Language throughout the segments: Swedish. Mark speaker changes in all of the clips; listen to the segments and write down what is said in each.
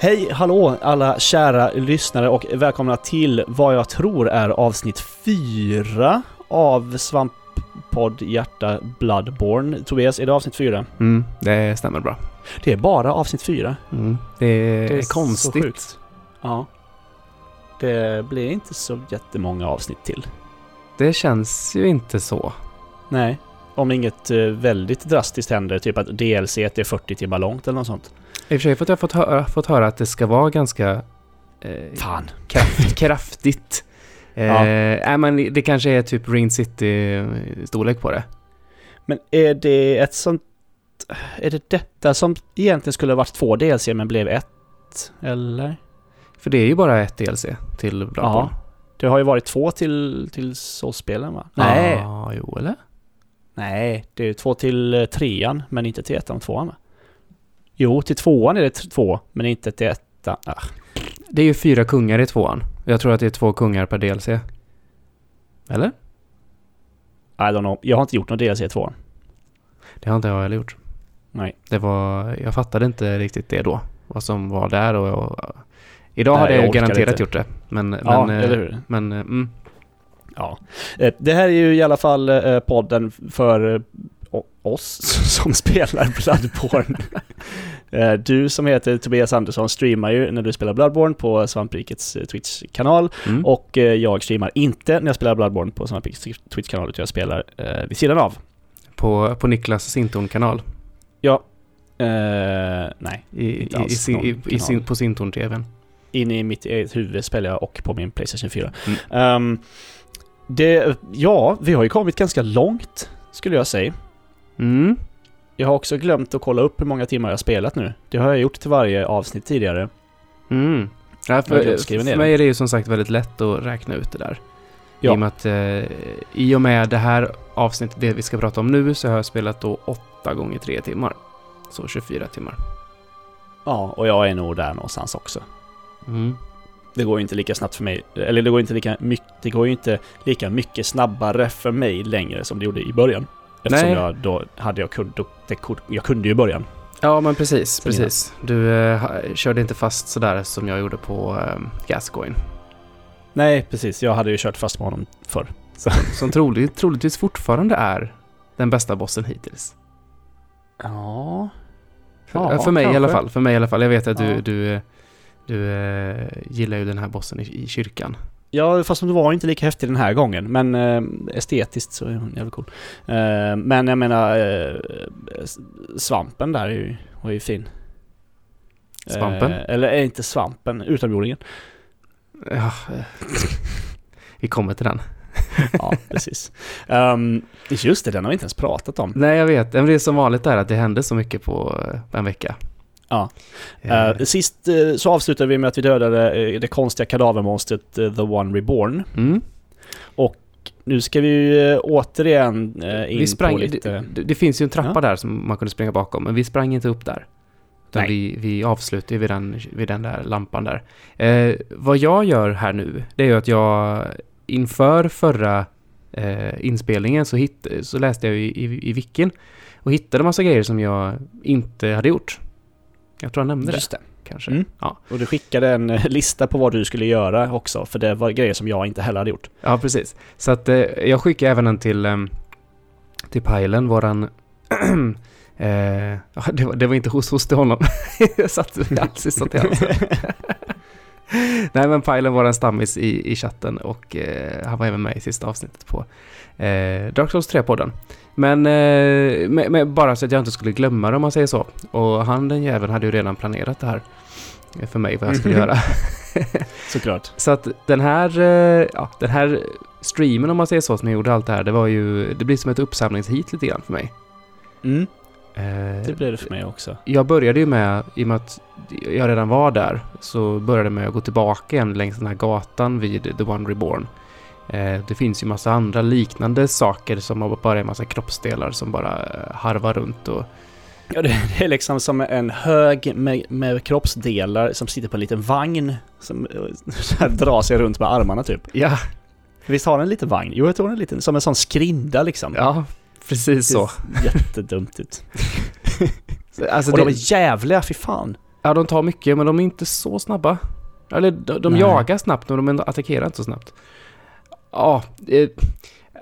Speaker 1: Hej, hallå alla kära lyssnare och välkomna till vad jag tror är avsnitt 4 av Svamppodd Hjärta Bloodborne. Tobias, är det avsnitt 4?
Speaker 2: Mm, det stämmer bra.
Speaker 1: Det är bara avsnitt 4.
Speaker 2: Mm. Det, är
Speaker 1: Det är så
Speaker 2: konstigt.
Speaker 1: sjukt. Ja. Det blir inte så jättemånga avsnitt till.
Speaker 2: Det känns ju inte så.
Speaker 1: Nej. Om inget eh, väldigt drastiskt händer, typ att DLC är 40 timmar långt eller något sånt.
Speaker 2: I och för sig har jag fått höra, fått höra att det ska vara ganska eh,
Speaker 1: Fan.
Speaker 2: kraft, kraftigt. Eh,
Speaker 1: Ja.
Speaker 2: nej, men det kanske är typ Ring City-storlek på det.
Speaker 1: Men är det ett sånt... Är det detta som egentligen skulle ha varit två DLC men blev ett? Eller?
Speaker 2: För det är ju bara ett DLC till Bloodborne.
Speaker 1: Det har ju varit två till, till Souls-spelen va?
Speaker 2: Ah, jo, eller?
Speaker 1: Nej, det är ju två till eh, trean men inte till ettan och tvåan va? Jo, till tvåan är det t- två men inte till ettan. Ah.
Speaker 2: Det är ju fyra kungar i tvåan. Jag tror att det är två kungar per DLC. Eller?
Speaker 1: Ah, I don't know. Jag har inte gjort något DLC i tvåan.
Speaker 2: Det har inte jag heller gjort.
Speaker 1: Nej.
Speaker 2: Det var, jag fattade inte riktigt det då. Vad som var där och... och idag
Speaker 1: Nej,
Speaker 2: hade jag,
Speaker 1: jag orkar
Speaker 2: garanterat
Speaker 1: inte.
Speaker 2: gjort det. Men...
Speaker 1: Ja,
Speaker 2: men, eh,
Speaker 1: eller hur?
Speaker 2: men eh, mm,
Speaker 1: Ja. Eh, Det här är ju i alla fall eh, podden för eh, o- oss som spelar Bloodborne. Eh, du som heter Tobias Andersson streamar ju när du spelar Bloodborne på Svamprikets eh, Twitch-kanal.
Speaker 2: mm.
Speaker 1: Och eh, jag streamar inte när jag spelar Bloodborne på Svamprikets Twitch-kanal utan jag spelar eh, vid sidan av.
Speaker 2: På, på Niklas Sintorn-kanal.
Speaker 1: Eh, nej,
Speaker 2: I, i,
Speaker 1: Inte
Speaker 2: i,
Speaker 1: alls
Speaker 2: sin- i,
Speaker 1: någon
Speaker 2: i, sin-
Speaker 1: kanal.
Speaker 2: på Sintorn-tvn.
Speaker 1: in i mitt eget huvud spelar jag och på min Playstation 4.
Speaker 2: Mm.
Speaker 1: Ehm, det, ja, vi har ju kommit ganska långt skulle jag säga.
Speaker 2: Mm.
Speaker 1: Jag har också glömt att kolla upp hur många timmar jag har spelat nu. Det har jag gjort till varje avsnitt tidigare.
Speaker 2: Mm. Ja,
Speaker 1: Jag har
Speaker 2: för,
Speaker 1: inte skrivit ner
Speaker 2: för
Speaker 1: det.
Speaker 2: mig är det ju som sagt väldigt lätt att räkna ut det där.
Speaker 1: Ja.
Speaker 2: I, och med att, eh, I och med det här avsnittet, det vi ska prata om nu, så har jag spelat då 8 gånger 3 timmar. Så 24 timmar.
Speaker 1: Ja, och jag är nog där någonstans också.
Speaker 2: Mm.
Speaker 1: Det går ju inte lika snabbt för mig, eller det går inte lika mycket, det går ju inte lika mycket snabbare för mig längre som det gjorde i början. Eftersom
Speaker 2: Nej.
Speaker 1: jag då hade jag kunde, det, kun- jag kunde ju i början.
Speaker 2: Ja, men precis.
Speaker 1: Sen innan.
Speaker 2: precis. Du eh, ha- körde inte fast sådär som jag gjorde på eh, Gascoigne.
Speaker 1: Nej, precis. Jag hade ju kört fast med honom förr.
Speaker 2: Som trolig, troligtvis fortfarande är den bästa bossen hittills.
Speaker 1: Ja.
Speaker 2: För,
Speaker 1: Ja,
Speaker 2: eh, för mig i alla
Speaker 1: kanske.
Speaker 2: fall. För mig i alla fall. Jag vet att du,
Speaker 1: Ja.
Speaker 2: du, eh, du eh, gillar ju den här bossen i, i kyrkan.
Speaker 1: Ja, fast hon var inte lika häftig den här gången. Men eh, estetiskt så är hon jävligt cool. Eh, men jag menar, eh, s- svampen där är ju, var ju fin.
Speaker 2: Svampen?
Speaker 1: Eh, eller är inte svampen, utomjordingen.
Speaker 2: Ja, eh, vi kommer till den.
Speaker 1: Ja, precis. Ehm, just det, den har vi inte ens pratat om.
Speaker 2: Nej, jag vet. Men det är som vanligt där att det hände så mycket på eh, en vecka.
Speaker 1: Ja.
Speaker 2: Eh,
Speaker 1: Eh, sist eh, så avslutade vi med att vi dödade eh, det konstiga kadavermonstret eh, The One Reborn.
Speaker 2: mm.
Speaker 1: Nu ska vi ju eh, återigen eh, in
Speaker 2: vi sprang,
Speaker 1: på lite...
Speaker 2: det, det- det finns ju en trappa
Speaker 1: Ja.
Speaker 2: där som man kunde springa bakom, men vi sprang inte upp där. Utan
Speaker 1: Nej.
Speaker 2: vi, vi avslutade ju vid den, vid den där lampan där. Eh, vad jag gör här nu, det är ju att jag inför förra eh, inspelningen så, hitt, så läste jag ju i, i, i wikin och hittade massa grejer som jag inte hade gjort. Jag tror jag nämnde det,
Speaker 1: Just det.
Speaker 2: kanske.
Speaker 1: Mm.
Speaker 2: Ja.
Speaker 1: Och du skickade en eh, lista på vad du skulle göra också, för det var grejer som jag inte heller hade gjort.
Speaker 2: Ja, precis. Så att eh, jag skickar även den till, ehm, till Pajlen, våran... eh, ja, det, var, det var inte hos, hos till honom. jag satt alltid satt i halsen. Nej, men Pajlen, våran stammis i, i chatten och eh, han var även med i sista avsnittet på eh, Dark Souls 3-podden. Men eh, med, med, bara så att jag inte skulle glömma det om man säger så. Och han den jäveln hade ju redan planerat det här eh, för mig vad jag skulle göra.
Speaker 1: Såklart.
Speaker 2: Så att den här, eh, ja, den här streamen om man säger så som jag gjorde allt det här, det var ju, det blir som ett uppsamlingsheat lite grann för mig.
Speaker 1: Mm,
Speaker 2: Eh,
Speaker 1: det blev det för mig också.
Speaker 2: Jag började ju med, i och med att jag redan var där, så började jag med att gå tillbaka igen längs den här gatan vid The One Reborn. Eh, Det finns ju massa andra liknande saker som bara är massa kroppsdelar som bara eh, harvar runt och
Speaker 1: Ja, det, det är liksom som en hög med, med kroppsdelar som sitter på en liten vagn som eh, så här drar sig runt med armarna typ.
Speaker 2: ja,
Speaker 1: Visst har den en liten vagn? Jo, jag tror den är liten. Som en sån skrinda liksom.
Speaker 2: ja precis så.
Speaker 1: Jättedumt ut.
Speaker 2: Alltså
Speaker 1: och
Speaker 2: det,
Speaker 1: de är jävliga, fy fan.
Speaker 2: Ja, de tar mycket, men de är inte så snabba. Eller de, de
Speaker 1: Nej.
Speaker 2: jagar snabbt, men de attackerar inte så snabbt. Ja, eh,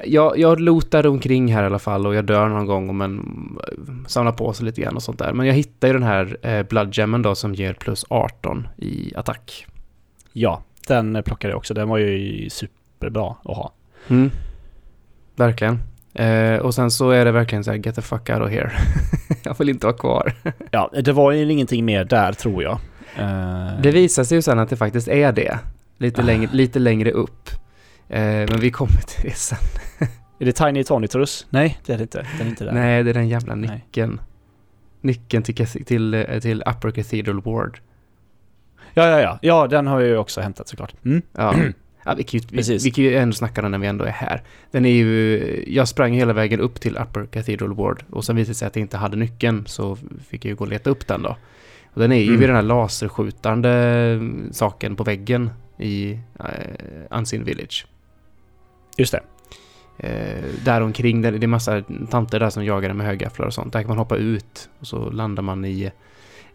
Speaker 2: jag, jag lotar omkring här i alla fall och jag dör någon gång och men samlar på sig lite grann och sånt där. Men jag hittar ju den här eh, bloodgemmen då som ger plus 18 i attack.
Speaker 1: Ja, den eh, plockade jag också. Den var ju superbra att ha.
Speaker 2: Mm. Verkligen. Eh, och sen så är det verkligen så här, get the fuck out of here. jag vill inte vara kvar.
Speaker 1: Ja, det var ju ingenting mer där tror jag. Eh,
Speaker 2: Det visar sig ju sen att det faktiskt är det. Lite, längre, lite längre upp. Eh, men vi kommer till det sen.
Speaker 1: Är det Tiny Tonitrus? Nej, det är det inte. Den är inte där.
Speaker 2: Nej, det är den jävla
Speaker 1: Nej.
Speaker 2: nyckeln. Nyckeln till, kas- till, eh, till Upper Cathedral Ward.
Speaker 1: Ja, ja, ja. Ja, den har jag ju också hämtat såklart. Mm.
Speaker 2: Ja. Ja, vi, kan ju, vi,
Speaker 1: Precis.
Speaker 2: vi kan ju ändå snacka om den när vi ändå är här. Den är ju, jag sprang hela vägen upp till Upper Cathedral Ward och sen visade det sig att jag inte hade nyckeln så fick jag ju gå och leta upp den då. Och den är ju
Speaker 1: Mm.
Speaker 2: vid den här laserskjutande saken på väggen i eh, Unseen Village.
Speaker 1: Just det.
Speaker 2: Eh, där omkring, där, det är massa tanter där som jagar en med högafflar och sånt. Där kan man hoppa ut och så landar man i,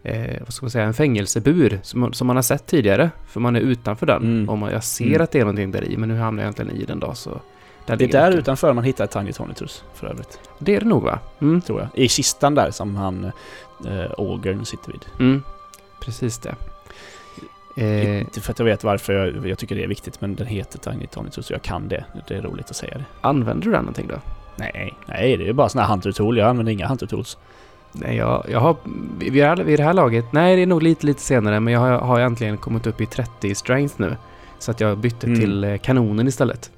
Speaker 2: eh, vad ska man säga, en fängelsebur som, man- som man har sett tidigare. För man är utanför den.
Speaker 1: Mm.
Speaker 2: Och man, jag ser
Speaker 1: Mm.
Speaker 2: att det är någonting där i, men nu hamnar jag egentligen i den då så... Där
Speaker 1: Det är
Speaker 2: ligger
Speaker 1: där
Speaker 2: nyckeln.
Speaker 1: utanför man hittar Tiny Tonitrus för övrigt,
Speaker 2: Det är det nog va? Mm.
Speaker 1: tror jag. I kistan där som han, eh, Ogern sitter vid.
Speaker 2: Mm. Precis det. Eh,
Speaker 1: Inte för att jag vet varför jag, jag tycker det är viktigt, men den heter Tiny Tonitrus och jag kan det. Det är roligt att säga det.
Speaker 2: använder du den någonting då?
Speaker 1: Nej, nej, det är ju bara såna här Hunter Tool. Jag använder inga Hunter Tools.
Speaker 2: Nej, jag, jag har... Vid vid det här- vid det här laget... Nej, det är nog lite, lite senare, men jag har, har äntligen kommit upp i 30 i strength nu. Så att jag bytte
Speaker 1: Mm.
Speaker 2: till eh, kanonen istället.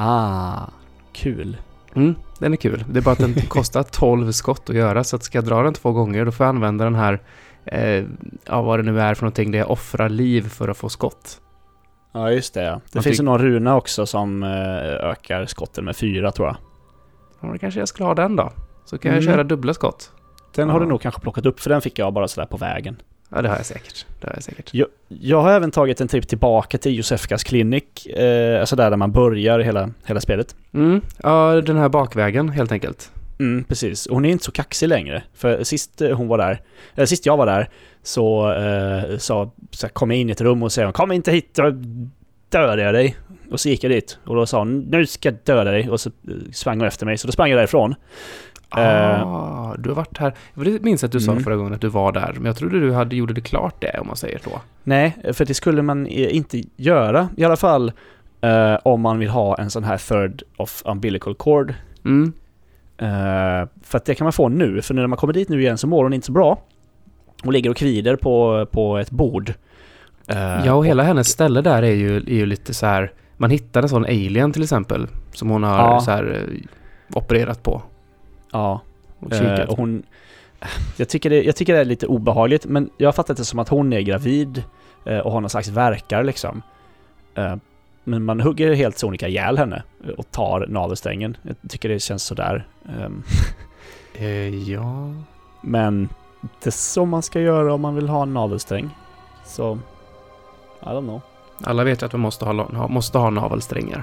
Speaker 1: Ah, kul.
Speaker 2: Mm, den är kul. Det är bara att den kostar 12 skott att göra, så att ska jag dra den två gånger då får jag använda den här, eh, ja vad det nu är för någonting, det är offra liv för att få skott.
Speaker 1: Ja, just det. Det
Speaker 2: Man
Speaker 1: finns
Speaker 2: tyck-
Speaker 1: ju någon runa också som eh, ökar skotten med fyra, tror jag.
Speaker 2: Ja, då kanske jag skulle ha den då. Så kan jag
Speaker 1: Mm.
Speaker 2: köra dubbla skott.
Speaker 1: Den har
Speaker 2: Ja.
Speaker 1: du nog kanske plockat upp, för den fick jag bara sådär på vägen.
Speaker 2: Ja, det har jag säkert. Det har jag säkert.
Speaker 1: Jag, jag har även tagit en trip tillbaka till Josefkas klinik, eh, alltså där, där man börjar hela, hela spelet.
Speaker 2: Mm, ja, den här bakvägen helt enkelt.
Speaker 1: Mm, precis. Och Hon är inte så kaxig längre, för sist eh, hon var där, eller sist jag var där, så, eh, sa, så kom jag in i ett rum och sa kom inte hit, då dödar jag dig. Och så gick jag dit och då sa hon nu ska jag döda dig och så eh, sprang hon efter mig, så då sprang jag därifrån. Eh.
Speaker 2: Ah, du har varit här. Jag minns att du sa
Speaker 1: Mm.
Speaker 2: förra gången att du var där, men jag trodde du hade, gjorde det klart det, om man säger så.
Speaker 1: Nej, för det skulle man eh, inte göra, i alla fall eh, om man vill ha en sån här third of umbilical cord
Speaker 2: Mm.
Speaker 1: Eh, för att det kan man få nu, för när man kommer dit nu igen så mår hon inte så bra. Hon ligger och kvider på, på ett bord. Eh,
Speaker 2: Ja, och hela hennes ställe där är ju, är ju lite så här... Man hittar en sån alien till exempel, som hon har
Speaker 1: Ja.
Speaker 2: så här, eh, opererat på.
Speaker 1: ja,
Speaker 2: Och
Speaker 1: eh,
Speaker 2: kikat.
Speaker 1: och hon... Jag tycker, det, jag tycker det är lite obehagligt, men jag har fattat det som att hon är gravid eh, och har någon slags verkar liksom. Eh, men man hugger helt sonika ihjäl henne eh, och tar navelsträngen. Jag tycker det känns sådär. Um,
Speaker 2: Eh, ja...
Speaker 1: men det är så man ska göra om man vill ha en navelsträng. Så... I don't know.
Speaker 2: Alla vet ju att man måste ha, la- ha- måste ha navelsträngar.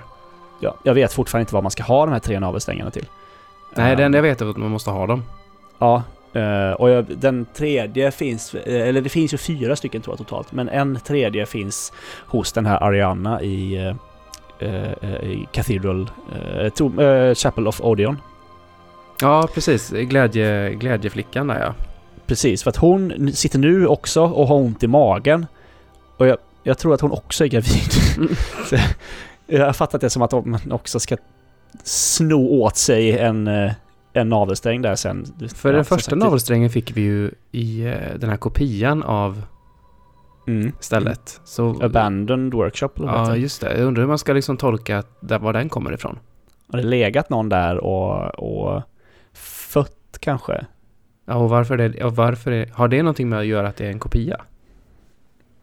Speaker 1: Ja, jag vet fortfarande inte vad man ska ha de här tre navelsträngarna till.
Speaker 2: Nej, det
Speaker 1: Ehm,
Speaker 2: enda jag vet är att man måste ha dem.
Speaker 1: Ja, eh, och jag, den tredje finns, eh, eller det finns ju fyra stycken tror jag totalt, men en tredje finns hos den här Ariana i, eh, eh, i Cathedral, eh, to, eh, Chapel of Odeon.
Speaker 2: Ja, precis. Glädje, glädjeflickan där ja.
Speaker 1: Precis, för att hon n- sitter nu också och har ont i magen. Och jag, jag tror att hon också är gravid.
Speaker 2: Mm.
Speaker 1: Så, jag har fattat det som att man också ska sno åt sig en, eh, en navelsträng där sen.
Speaker 2: För
Speaker 1: Ja,
Speaker 2: den
Speaker 1: som sagt,
Speaker 2: första
Speaker 1: det-
Speaker 2: navelsträngen fick vi ju i eh, den här kopian av
Speaker 1: Mm.
Speaker 2: stället. Så,
Speaker 1: Abandoned Workshop eller vad
Speaker 2: ja,
Speaker 1: det
Speaker 2: just det. Jag undrar hur man ska liksom tolka att- där, var den kommer ifrån.
Speaker 1: Har det legat någon där och, och fött kanske?
Speaker 2: Ja, och varför, det, och varför det, har det någonting med att göra att det är en kopia?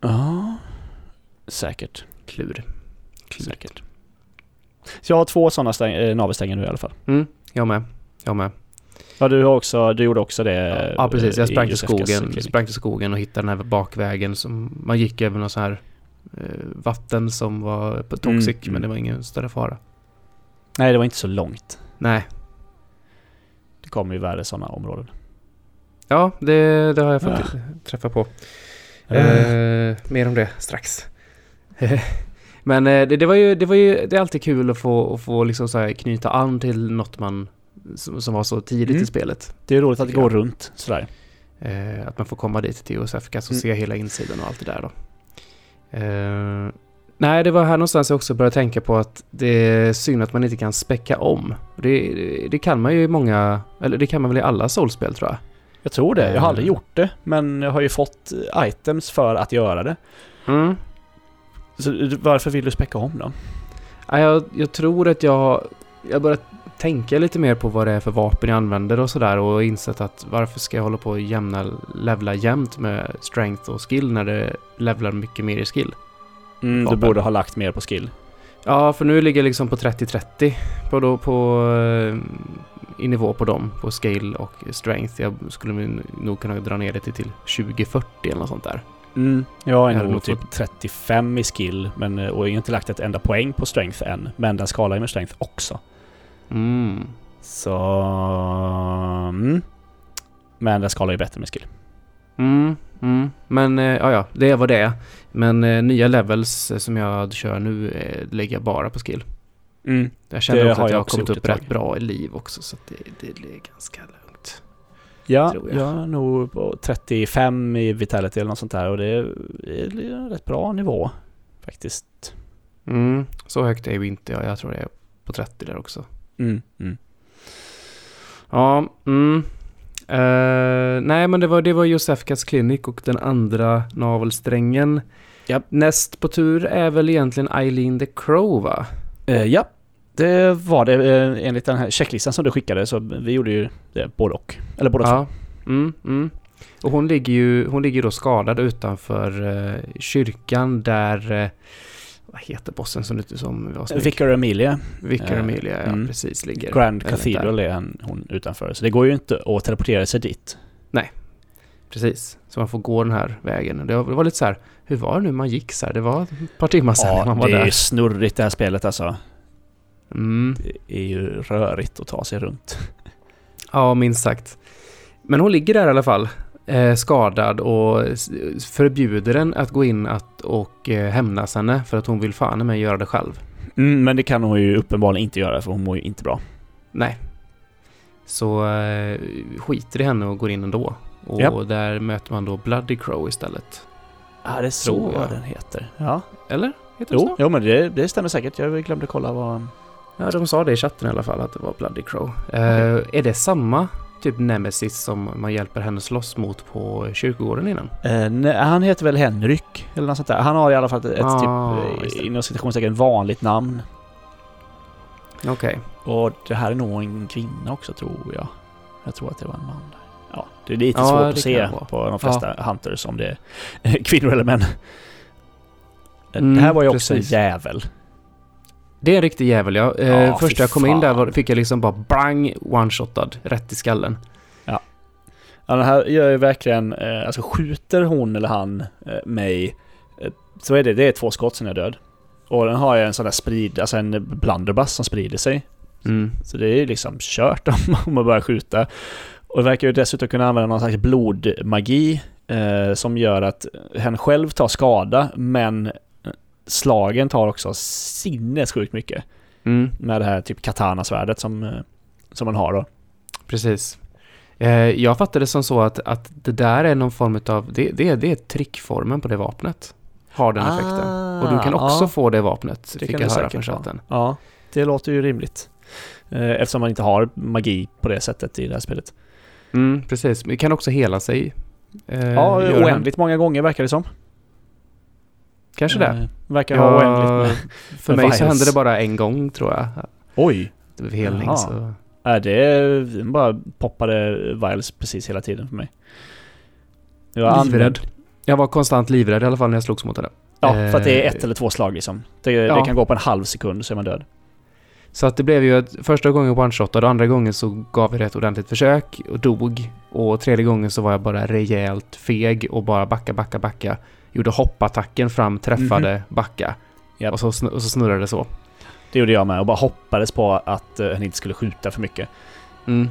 Speaker 1: Ja, säkert.
Speaker 2: Klur.
Speaker 1: säkert. Så jag har två sådana stäng- eh, navelsträngar nu i alla fall.
Speaker 2: Mm, jag med. Jag med.
Speaker 1: Ja, du, har också, du gjorde också det. eh,
Speaker 2: Ja, precis. Jag
Speaker 1: i
Speaker 2: sprang till
Speaker 1: Josefkas
Speaker 2: skogen,
Speaker 1: klinik.
Speaker 2: sprang till skogen och hittade den här bakvägen som man gick över någon sån här eh, vatten som var på toxic,
Speaker 1: Mm, mm.
Speaker 2: men det var ingen större fara.
Speaker 1: Nej, det var inte så långt.
Speaker 2: Nej.
Speaker 1: Det kommer ju värre sådana områden.
Speaker 2: Ja, det, det har jag
Speaker 1: Ah.
Speaker 2: fått träffa på. Eh, mer om det strax. Men eh, det, det var ju, det var ju, det är alltid kul att få, att få liksom så här knyta an till något man, som, som var så tidigt
Speaker 1: Mm.
Speaker 2: i spelet.
Speaker 1: Det är roligt att det
Speaker 2: Tycker
Speaker 1: går
Speaker 2: jag.
Speaker 1: runt sådär.
Speaker 2: Eh, att man får komma dit till OSF och
Speaker 1: Mm.
Speaker 2: se hela insidan och allt det där då. Eh, nej, det var här någonstans jag också började tänka på att det är synd att man inte kan späcka om. Det, det kan man ju i många, eller det kan man väl i alla soulspel tror jag.
Speaker 1: Jag tror det. Jag har
Speaker 2: Eh.
Speaker 1: aldrig gjort det, men jag har ju fått eh, items för att göra det.
Speaker 2: Mm.
Speaker 1: Så eh, varför vill du späcka om då?
Speaker 2: Ja, jag, jag tror att jag... Jag börjar tänka lite mer på vad det är för vapen jag använder och sådär och insett att varför ska jag hålla på och jämna, levla jämt med strength och skill när det levlar mycket mer i skill?
Speaker 1: Mm, du
Speaker 2: Vapen.
Speaker 1: borde ha lagt mer på skill.
Speaker 2: Ja, för nu ligger jag liksom på 30-30 på, då, på eh, i nivå på dem, på skill och strength. Jag skulle nog kunna dra ner det till, till 20-40 eller något sånt där.
Speaker 1: Mm, jag har
Speaker 2: Jag hade
Speaker 1: nog
Speaker 2: nog
Speaker 1: typ 35 i skill men, eh, och jag har inte lagt ett enda poäng på strength än. Men den skalar ju med strength också.
Speaker 2: Mm.
Speaker 1: Så... Mm. Men den skalar ju bättre med skill.
Speaker 2: Mm, mm. Men eh, ja, ja, det är vad det är. Men eh, nya levels eh, som jag kör nu eh, lägger jag bara på skill. Jag känner
Speaker 1: Det
Speaker 2: också
Speaker 1: har
Speaker 2: att
Speaker 1: jag
Speaker 2: jag har
Speaker 1: också
Speaker 2: kommit
Speaker 1: gjort
Speaker 2: upp
Speaker 1: ett tag.
Speaker 2: rätt bra i liv också så att det, det är ganska lugnt.
Speaker 1: Ja,
Speaker 2: Tror
Speaker 1: jag.
Speaker 2: jag.
Speaker 1: är nog på 35 i vitality eller något sånt där och det är det är en rätt bra nivå faktiskt.
Speaker 2: Mm, så högt är ju inte jag. Jag tror det är på 30 där också.
Speaker 1: Mm. Mm.
Speaker 2: Ja, mm. Eh, nej men det var, det var Josefkas Clinic och den andra navelsträngen.
Speaker 1: Japp.
Speaker 2: Näst på tur är väl egentligen Eileen the Crow va?
Speaker 1: Eh, ja, det var det eh, enligt den här checklistan som du skickade så vi gjorde ju det både och. Eller båda två.
Speaker 2: Ja. Mm, mm. Och hon ligger ju hon ligger då skadad utanför eh, kyrkan där... Eh, vad heter bossen som, du- som
Speaker 1: Eh,
Speaker 2: var snygg?
Speaker 1: Vicar Amelia,
Speaker 2: Vicar
Speaker 1: eh,
Speaker 2: Amelia, ja
Speaker 1: mm.
Speaker 2: precis, ligger.
Speaker 1: Grand
Speaker 2: där.
Speaker 1: Cathedral är han- hon utanför. Så det går ju inte att teleportera sig dit.
Speaker 2: Precis, så man får gå den här vägen. Det var, det var lite så här, hur var det nu man gick så här? Det var ett par timmar sedan man
Speaker 1: ja,
Speaker 2: var
Speaker 1: det är ju
Speaker 2: där.
Speaker 1: snurrigt det här spelet alltså.
Speaker 2: Mm.
Speaker 1: Det är ju rörigt att ta sig runt.
Speaker 2: Ja, minst sagt. Men hon ligger där i alla fall, eh, skadad och s- förbjuder den att gå in att, och eh, hämnas henne för att hon vill fan i mig göra det själv.
Speaker 1: Mm, men det kan hon ju uppenbarligen inte göra för hon mår ju inte bra.
Speaker 2: Nej. Så eh, skiter i henne och går in ändå. Och
Speaker 1: Ja.
Speaker 2: där möter man då Bloody Crow istället.
Speaker 1: Ja, det är så
Speaker 2: Tror jag.
Speaker 1: den heter. Ja.
Speaker 2: Eller? Heter det
Speaker 1: Jo,
Speaker 2: så?
Speaker 1: jo, men det, det stämmer säkert. Jag glömde kolla vad...
Speaker 2: Ja, de sa det i chatten i alla fall att det var Bloody Crow. Eh,
Speaker 1: Okej.
Speaker 2: Är det samma typ Nemesis som man hjälper henne slåss mot på kyrkogården innan?
Speaker 1: Eh, nej, han heter väl Henrik eller något sånt där. Han har i alla fall ett
Speaker 2: Ah,
Speaker 1: typ,
Speaker 2: just
Speaker 1: eh,
Speaker 2: det.
Speaker 1: inom citationstecken, vanligt namn.
Speaker 2: Okej.
Speaker 1: Och det här är nog en kvinna också tror jag. Jag tror att det var en man där. Ja, det är lite
Speaker 2: Ja,
Speaker 1: svårt
Speaker 2: det
Speaker 1: att
Speaker 2: kan
Speaker 1: se
Speaker 2: det vara.
Speaker 1: på de flesta hunters om det är kvinnor eller män. Eh, det här
Speaker 2: Mm,
Speaker 1: var ju också
Speaker 2: precis.
Speaker 1: en jävel.
Speaker 2: Det är en riktig jävel ja. Eh,
Speaker 1: Ja,
Speaker 2: först
Speaker 1: fy
Speaker 2: jag kom
Speaker 1: fan.
Speaker 2: in där var, fick jag liksom bara bang one-shotad rätt i skallen.
Speaker 1: Ja, den här gör ju verkligen, eh, alltså skjuter hon eller han eh, mig eh, så är det, det är två skott sen jag är död. Och den har ju en sån där sprid, alltså en blunderbuss som sprider sig.
Speaker 2: Mm.
Speaker 1: Så det är ju liksom kört om, om man börjar skjuta. Och verkar ju dessutom kunna använda någon slags blodmagi eh, som gör att hen själv tar skada men eh, slagen tar också sinnessjukt mycket
Speaker 2: Mm.
Speaker 1: med det här typ katanasvärdet som, eh, som man har då.
Speaker 2: Precis. Eh, jag fattade det som så att, att det där är någon form av, det, det, är- det är trickformen på det vapnet. Har den effekten. Och du kan också
Speaker 1: Ah, ja,
Speaker 2: få det vapnet,
Speaker 1: det
Speaker 2: fick
Speaker 1: kan
Speaker 2: jag
Speaker 1: det
Speaker 2: höra från
Speaker 1: säkert vara.
Speaker 2: chatten.
Speaker 1: Ja, det låter ju rimligt. Eh, Eftersom man inte har magi på det sättet i det här spelet.
Speaker 2: Mm, precis. Men det kan också hela sig. Eh,
Speaker 1: Ja,
Speaker 2: gör den.
Speaker 1: oändligt många gånger verkar det som.
Speaker 2: Kanske det.
Speaker 1: Eh, Verkar ha oändligt. med-
Speaker 2: För
Speaker 1: med
Speaker 2: mig så
Speaker 1: virus.
Speaker 2: hände det bara en gång tror jag.
Speaker 1: Oj!
Speaker 2: Det var helning
Speaker 1: Jaha.
Speaker 2: så.
Speaker 1: Nej, det den bara poppade vials precis hela tiden för mig. Jag var
Speaker 2: Livrädd.
Speaker 1: använd-
Speaker 2: Jag var konstant livrädd i alla fall när jag slogs mot henne.
Speaker 1: Ja, för att det är
Speaker 2: Eh,
Speaker 1: ett eller två slag liksom. Det, det
Speaker 2: ja.
Speaker 1: kan gå på en halv sekund så är man död.
Speaker 2: Så att det blev ju att första gången one-shotad och andra gången så gav vi det ett ordentligt försök och dog. Och tredje gången så var jag bara rejält feg och bara backa, backa, backa. Gjorde hoppattacken fram, träffade, backa.
Speaker 1: Mhm. Japp.
Speaker 2: Och, så, snu- och så snurrade det så.
Speaker 1: Det gjorde jag med och bara hoppades på att eh, han inte skulle skjuta för mycket.
Speaker 2: Mm.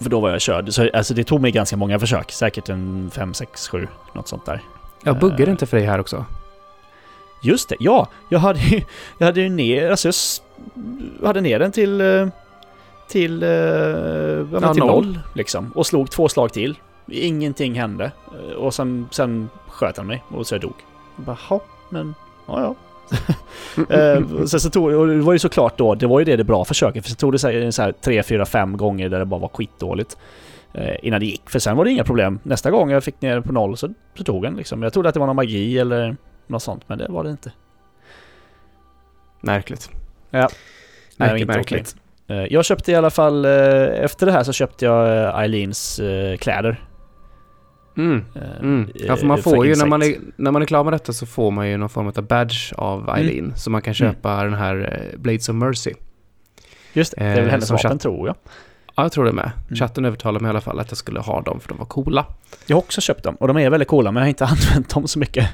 Speaker 1: För då var jag körd. Så, alltså det tog mig ganska många försök. Säkert en 5, 6, 7. Något sånt där.
Speaker 2: Jag
Speaker 1: Eh.
Speaker 2: buggar det inte för dig här också.
Speaker 1: Just det, ja! Jag hade ju, jag hade ju ner, alltså jag s- hade ner den till... eh, Till... eh, Ja, men
Speaker 2: Ja,
Speaker 1: till
Speaker 2: noll.
Speaker 1: noll. liksom. Och slog två slag till. Ingenting hände. Eh, Och sen, sen sköt han mig och så jag dog. Jag bara, "Jaha, men... Ja, ja. Eh, och sen så tog, och det var ju såklart då, det var ju det det bra försöket, för så tog det så här, så här 3, 4, 5 gånger där det bara var skitdåligt. Eh, innan det gick, för sen var det inga problem. Nästa gång jag fick ner den på noll så, så tog den liksom. Jag trodde att det var någon magi eller något sånt, men det var det inte.
Speaker 2: Märkligt.
Speaker 1: Ja. Nej,
Speaker 2: Märkligt,
Speaker 1: inte
Speaker 2: märkligt.
Speaker 1: Eh, jag köpte i alla fall, eh, efter det här så köpte jag eh, Eileens eh, kläder.
Speaker 2: Mm.
Speaker 1: Eh,
Speaker 2: Mm. Ja, för
Speaker 1: eh,
Speaker 2: man får ju, när
Speaker 1: insekt. Mm.
Speaker 2: man, är, när man är klar med detta så får man ju någon form av badge av Eileen. Så man kan köpa den här eh, Blades of Mercy.
Speaker 1: Just det, det är väl
Speaker 2: eh,
Speaker 1: hennes
Speaker 2: som
Speaker 1: vapen
Speaker 2: chatt-
Speaker 1: tror jag.
Speaker 2: Ja, jag tror det med.
Speaker 1: Mm.
Speaker 2: Chatten övertalade mig i alla fall att jag skulle ha dem för de var coola.
Speaker 1: Jag har också köpt dem, och de är väldigt coola men jag har inte använt dem så mycket.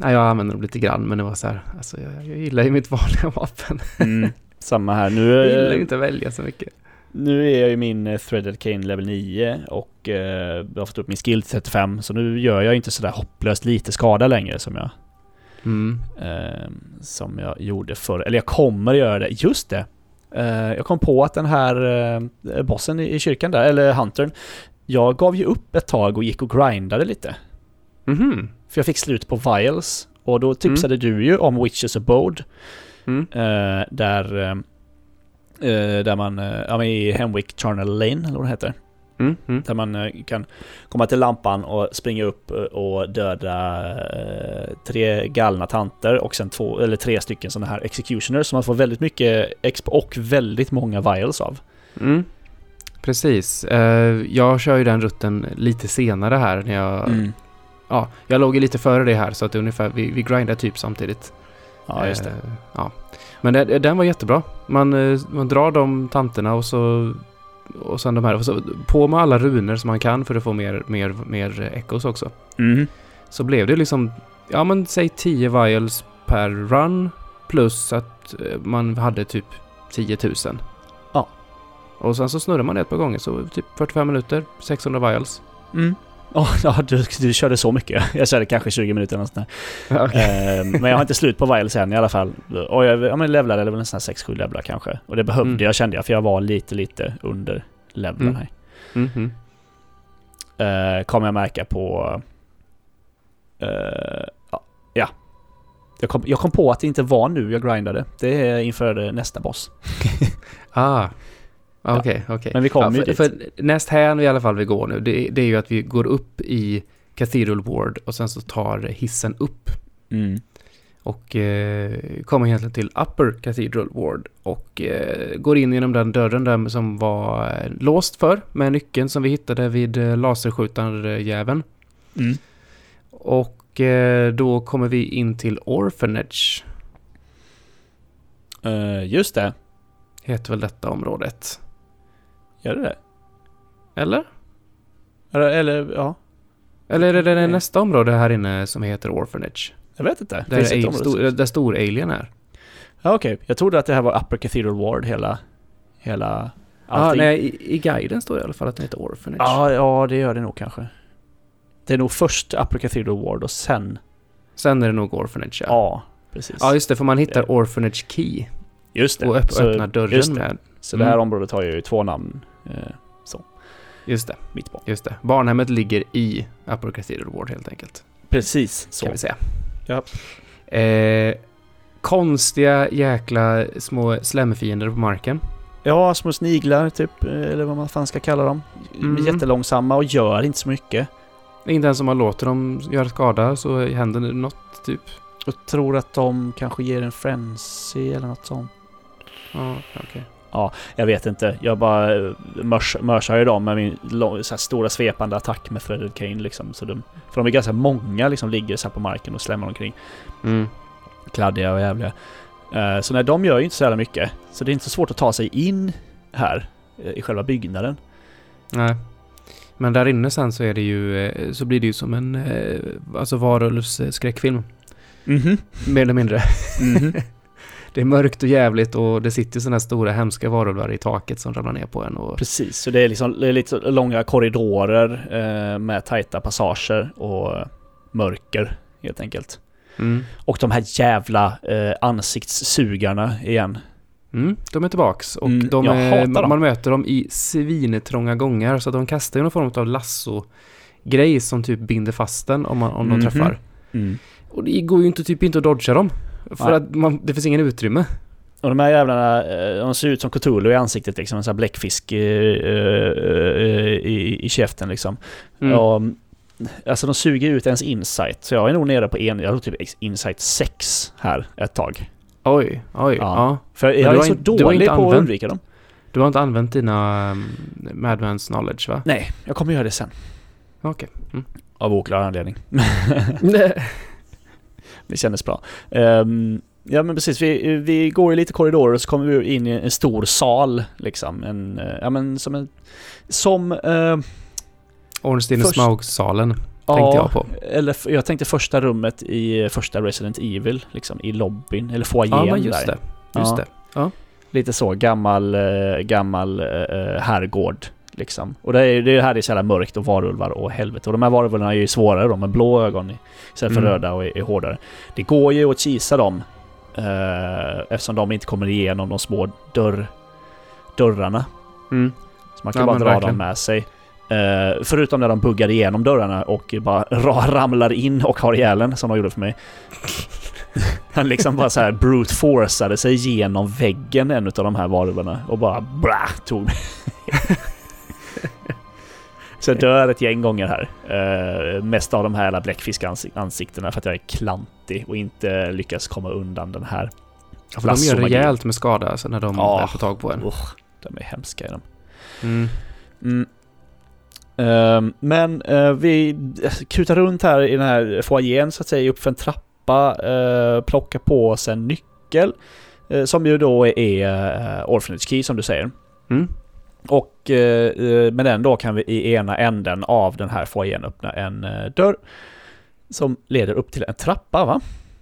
Speaker 2: Nej, jag använde dem lite grann men det var så här, alltså jag, jag gillar ju mitt vanliga vapen.
Speaker 1: Mm. Samma här, nu...
Speaker 2: Jag
Speaker 1: eh,
Speaker 2: gillar ju inte att välja så mycket.
Speaker 1: Nu är jag ju min eh, Threaded Cane level 9 och eh, jag har fått upp min skill till 35 så nu gör jag inte sådär hopplöst lite skada längre som jag,
Speaker 2: Mm.
Speaker 1: eh, som jag gjorde förr. Eller jag kommer göra det, just det! Eh, jag kom på att den här eh, bossen i i kyrkan där, eller huntern, jag gav ju upp ett tag och gick och grindade lite.
Speaker 2: Mhm.
Speaker 1: För jag fick slut på vials och då tipsade du ju om Witches Abode
Speaker 2: Mm.
Speaker 1: eh, där, eh, eh, där man, eh, ja men i Hemwick Charnel Lane eller vad det heter.
Speaker 2: Mm. Mm.
Speaker 1: Där man eh, kan komma till lampan och springa upp eh, och döda eh, tre galna tanter och sen två, eller tre stycken sådana här executioners som man får väldigt mycket exp och väldigt många vials av.
Speaker 2: Mm. Precis. Eh, jag kör ju den rutten lite senare här när jag...
Speaker 1: Mm.
Speaker 2: Ja, jag låg ju lite före det här så att det är ungefär, vi, vi grindar typ samtidigt.
Speaker 1: Ja, just det.
Speaker 2: Eh, ja. Men det, den var jättebra. Man, eh, man drar de tanterna och så... Och sen de här. Och så på med alla runor som man kan för att få mer, mer, mer echos också.
Speaker 1: Mm.
Speaker 2: Så blev det liksom... Ja men säg 10 vials per run. Plus att eh, man hade typ 10 000.
Speaker 1: Ja.
Speaker 2: Och sen så snurrar man det ett par gånger så typ 45 minuter, 600 vials.
Speaker 1: Mm. Ja, ja, du, du körde så mycket. Jag körde kanske 20 minuter eller något sånt
Speaker 2: Ja,
Speaker 1: där. Eh, Men jag har inte slut på vials än i alla fall. Och jag ja, men levlade väl en sån här 6-7 levlar kanske. Och det behövde
Speaker 2: Mm.
Speaker 1: jag kände jag, för jag var lite, lite under levlarna
Speaker 2: Mm.
Speaker 1: här.
Speaker 2: Mhm.
Speaker 1: eh, kommer jag märka på... eh, ja, ja. Jag kom, jag kom på att det inte var nu jag grindade. Det är inför eh, nästa boss.
Speaker 2: Ah. Ah, Okej, okej.
Speaker 1: Men vi kommer ju
Speaker 2: för,
Speaker 1: dit.
Speaker 2: för näst här i alla fall vi går nu, det, det är ju att vi går upp i Cathedral Ward och sen så tar hissen upp
Speaker 1: Mm.
Speaker 2: och eh, kommer egentligen till Upper Cathedral Ward och eh, går in genom den dörren där som var eh, låst för med nyckeln som vi hittade vid eh, laserskjutarjäveln.
Speaker 1: Mm.
Speaker 2: Och eh, då kommer vi in till Orphanage,
Speaker 1: Eh, just det.
Speaker 2: heter väl detta området?
Speaker 1: Gör det det?
Speaker 2: Eller?
Speaker 1: Eller, eller ja.
Speaker 2: Eller är det, det
Speaker 1: Nej.
Speaker 2: nästa område här inne som heter Orphanage?
Speaker 1: Jag vet inte.
Speaker 2: Där,
Speaker 1: Finns det ett
Speaker 2: är
Speaker 1: område?
Speaker 2: stor, där stor Alien är.
Speaker 1: Ja, okej. Jag trodde att det här var Upper Cathedral Ward hela... Hela...
Speaker 2: Ja,
Speaker 1: allting.
Speaker 2: Ah, nej, i, i guiden står det i alla fall att den heter Orphanage.
Speaker 1: ja, ja, det gör det nog kanske. Det är nog först Upper Cathedral Ward och sen...
Speaker 2: Sen är det nog Orphanage,
Speaker 1: Ja,
Speaker 2: ja.
Speaker 1: precis.
Speaker 2: Ja, just det, för man hittar
Speaker 1: Det-
Speaker 2: Orphanage Key
Speaker 1: just
Speaker 2: och öpp,
Speaker 1: Så-
Speaker 2: öppnar
Speaker 1: just
Speaker 2: dörren
Speaker 1: det.
Speaker 2: med.
Speaker 1: Så det här
Speaker 2: Mm.
Speaker 1: området har ju två namn. Eh,
Speaker 2: Just det,
Speaker 1: mitt på.
Speaker 2: just det. Barnhemmet ligger i Upper Cathedral Ward helt enkelt,
Speaker 1: Precis så.
Speaker 2: kan vi säga.
Speaker 1: Ja.
Speaker 2: Eh, konstiga jäkla små slemfiender på marken.
Speaker 1: Ja, små sniglar typ, eller vad man fan ska kalla dem.
Speaker 2: Mm.
Speaker 1: Jättelångsamma och gör inte så mycket.
Speaker 2: Inte ens om man låter dem göra skada så händer det något, typ.
Speaker 1: Och tror att de kanske ger en frenzy eller något sånt.
Speaker 2: Ja, okej.
Speaker 1: Jag vet inte, jag bara eh, mörs, mörsar ju dem med min lång, så här stora svepande attack med Threaded Cane liksom. Så de, för de är ganska många liksom, ligger så här på marken och slämmar omkring.
Speaker 2: Mm.
Speaker 1: Kladdiga och jävliga. Eh, Så när de gör ju inte så jävla mycket. Så det är inte så svårt att ta sig in här, eh, i själva byggnaden.
Speaker 2: Nej. Men där inne sen så är det ju, eh, så blir det ju som en, eh, alltså varulvsskräckfilm.
Speaker 1: Mhm.
Speaker 2: Mhm. Mer eller mindre. det är mörkt och jävligt och det sitter sådana här stora hemska varulvar i taket som ramlar ner på en. Och,
Speaker 1: Precis, så det är liksom det är lite långa korridorer eh, med tajta passager och mörker helt enkelt.
Speaker 2: mm.
Speaker 1: Och de här jävla eh, ansiktssugarna igen.
Speaker 2: Mm, de är tillbaks och
Speaker 1: Mm,
Speaker 2: de
Speaker 1: jag
Speaker 2: är,
Speaker 1: hatar
Speaker 2: man,
Speaker 1: dem.
Speaker 2: man möter dem i svintrånga gångar så de kastar ju någon form av lasso-grej som typ binder fast den om, man, om
Speaker 1: Mhm.
Speaker 2: de träffar. Och det går ju inte, typ inte att dodga dem. För
Speaker 1: Nej.
Speaker 2: att man, det finns ingen utrymme.
Speaker 1: Och de här jävlarna, eh, de ser ut som Cthulhu i ansiktet liksom, en sån här bläckfisk eh, eh, eh, i, i käften liksom.
Speaker 2: Mm.
Speaker 1: Och, alltså de suger ut ens insight, så jag är nog nere på en, jag tror typ insight 6 här ett tag.
Speaker 2: Oj, oj,
Speaker 1: Ja.
Speaker 2: ja.
Speaker 1: För
Speaker 2: du
Speaker 1: jag är
Speaker 2: har
Speaker 1: så
Speaker 2: in- du har
Speaker 1: dålig
Speaker 2: inte
Speaker 1: på att
Speaker 2: använt-
Speaker 1: undvika dem.
Speaker 2: Du har inte använt dina um, Madmans knowledge va?
Speaker 1: Nej, jag kommer göra det sen.
Speaker 2: Okej. Mm.
Speaker 1: Av oklar anledning. Det kändes bra. Ehm, ja men precis, vi, vi går ju lite korridorer och så kommer vi in i en stor sal liksom. En, eh, ja men som en... Som... eh,
Speaker 2: Ornstein
Speaker 1: Först-
Speaker 2: Smaug-salen tänkte jag på.
Speaker 1: Eller f- jag tänkte första rummet i eh, första Resident Evil, liksom i lobbyn, eller foajén
Speaker 2: Ja, men just
Speaker 1: där.
Speaker 2: det. Just
Speaker 1: Ja.
Speaker 2: det.
Speaker 1: Lite så, gammal, eh, gammal eh, eh, herrgård. Liksom. Och det är ju det är ju här det är så jävla mörkt och varulvar och helvete. Och de här varulvarna är ju svårare de med blå ögon i- istället för
Speaker 2: Mm.
Speaker 1: röda och är, är hårdare. Det går ju att kisa dem eh, eftersom de inte kommer igenom de små dörr, dörrarna.
Speaker 2: Mm.
Speaker 1: Så man kan
Speaker 2: Ja,
Speaker 1: bara
Speaker 2: men
Speaker 1: dra
Speaker 2: verkligen.
Speaker 1: dem med sig. Eh, förutom när de buggar igenom dörrarna och bara ra- ramlar in och har ihjäl en, som de gjorde för mig. Han liksom bara så här brute forceade sig genom väggen en av de här varulvarna och bara bra tog mig. så jag dör ett gäng gånger här. Eh, mest av de här jävla bläckfiskansiktena för att jag är klantig och inte lyckas komma undan den här.
Speaker 2: Ja, för de gör
Speaker 1: Lasso-magi.
Speaker 2: rejält med skada alltså, när de
Speaker 1: Ja.
Speaker 2: väl får tag på en.
Speaker 1: Usch, de är hemska i dem.
Speaker 2: Mm.
Speaker 1: Mm. Ehm, men eh, vi kutar runt här i den här foajén så att säga, upp för en trappa, eh, plockar på oss en nyckel. eh, som ju då är uh, Orphanage Key som du säger.
Speaker 2: Mm.
Speaker 1: Och eh, eh, med den då kan vi i ena änden av den här foajén öppna en eh, dörr. Som leder upp till en trappa va?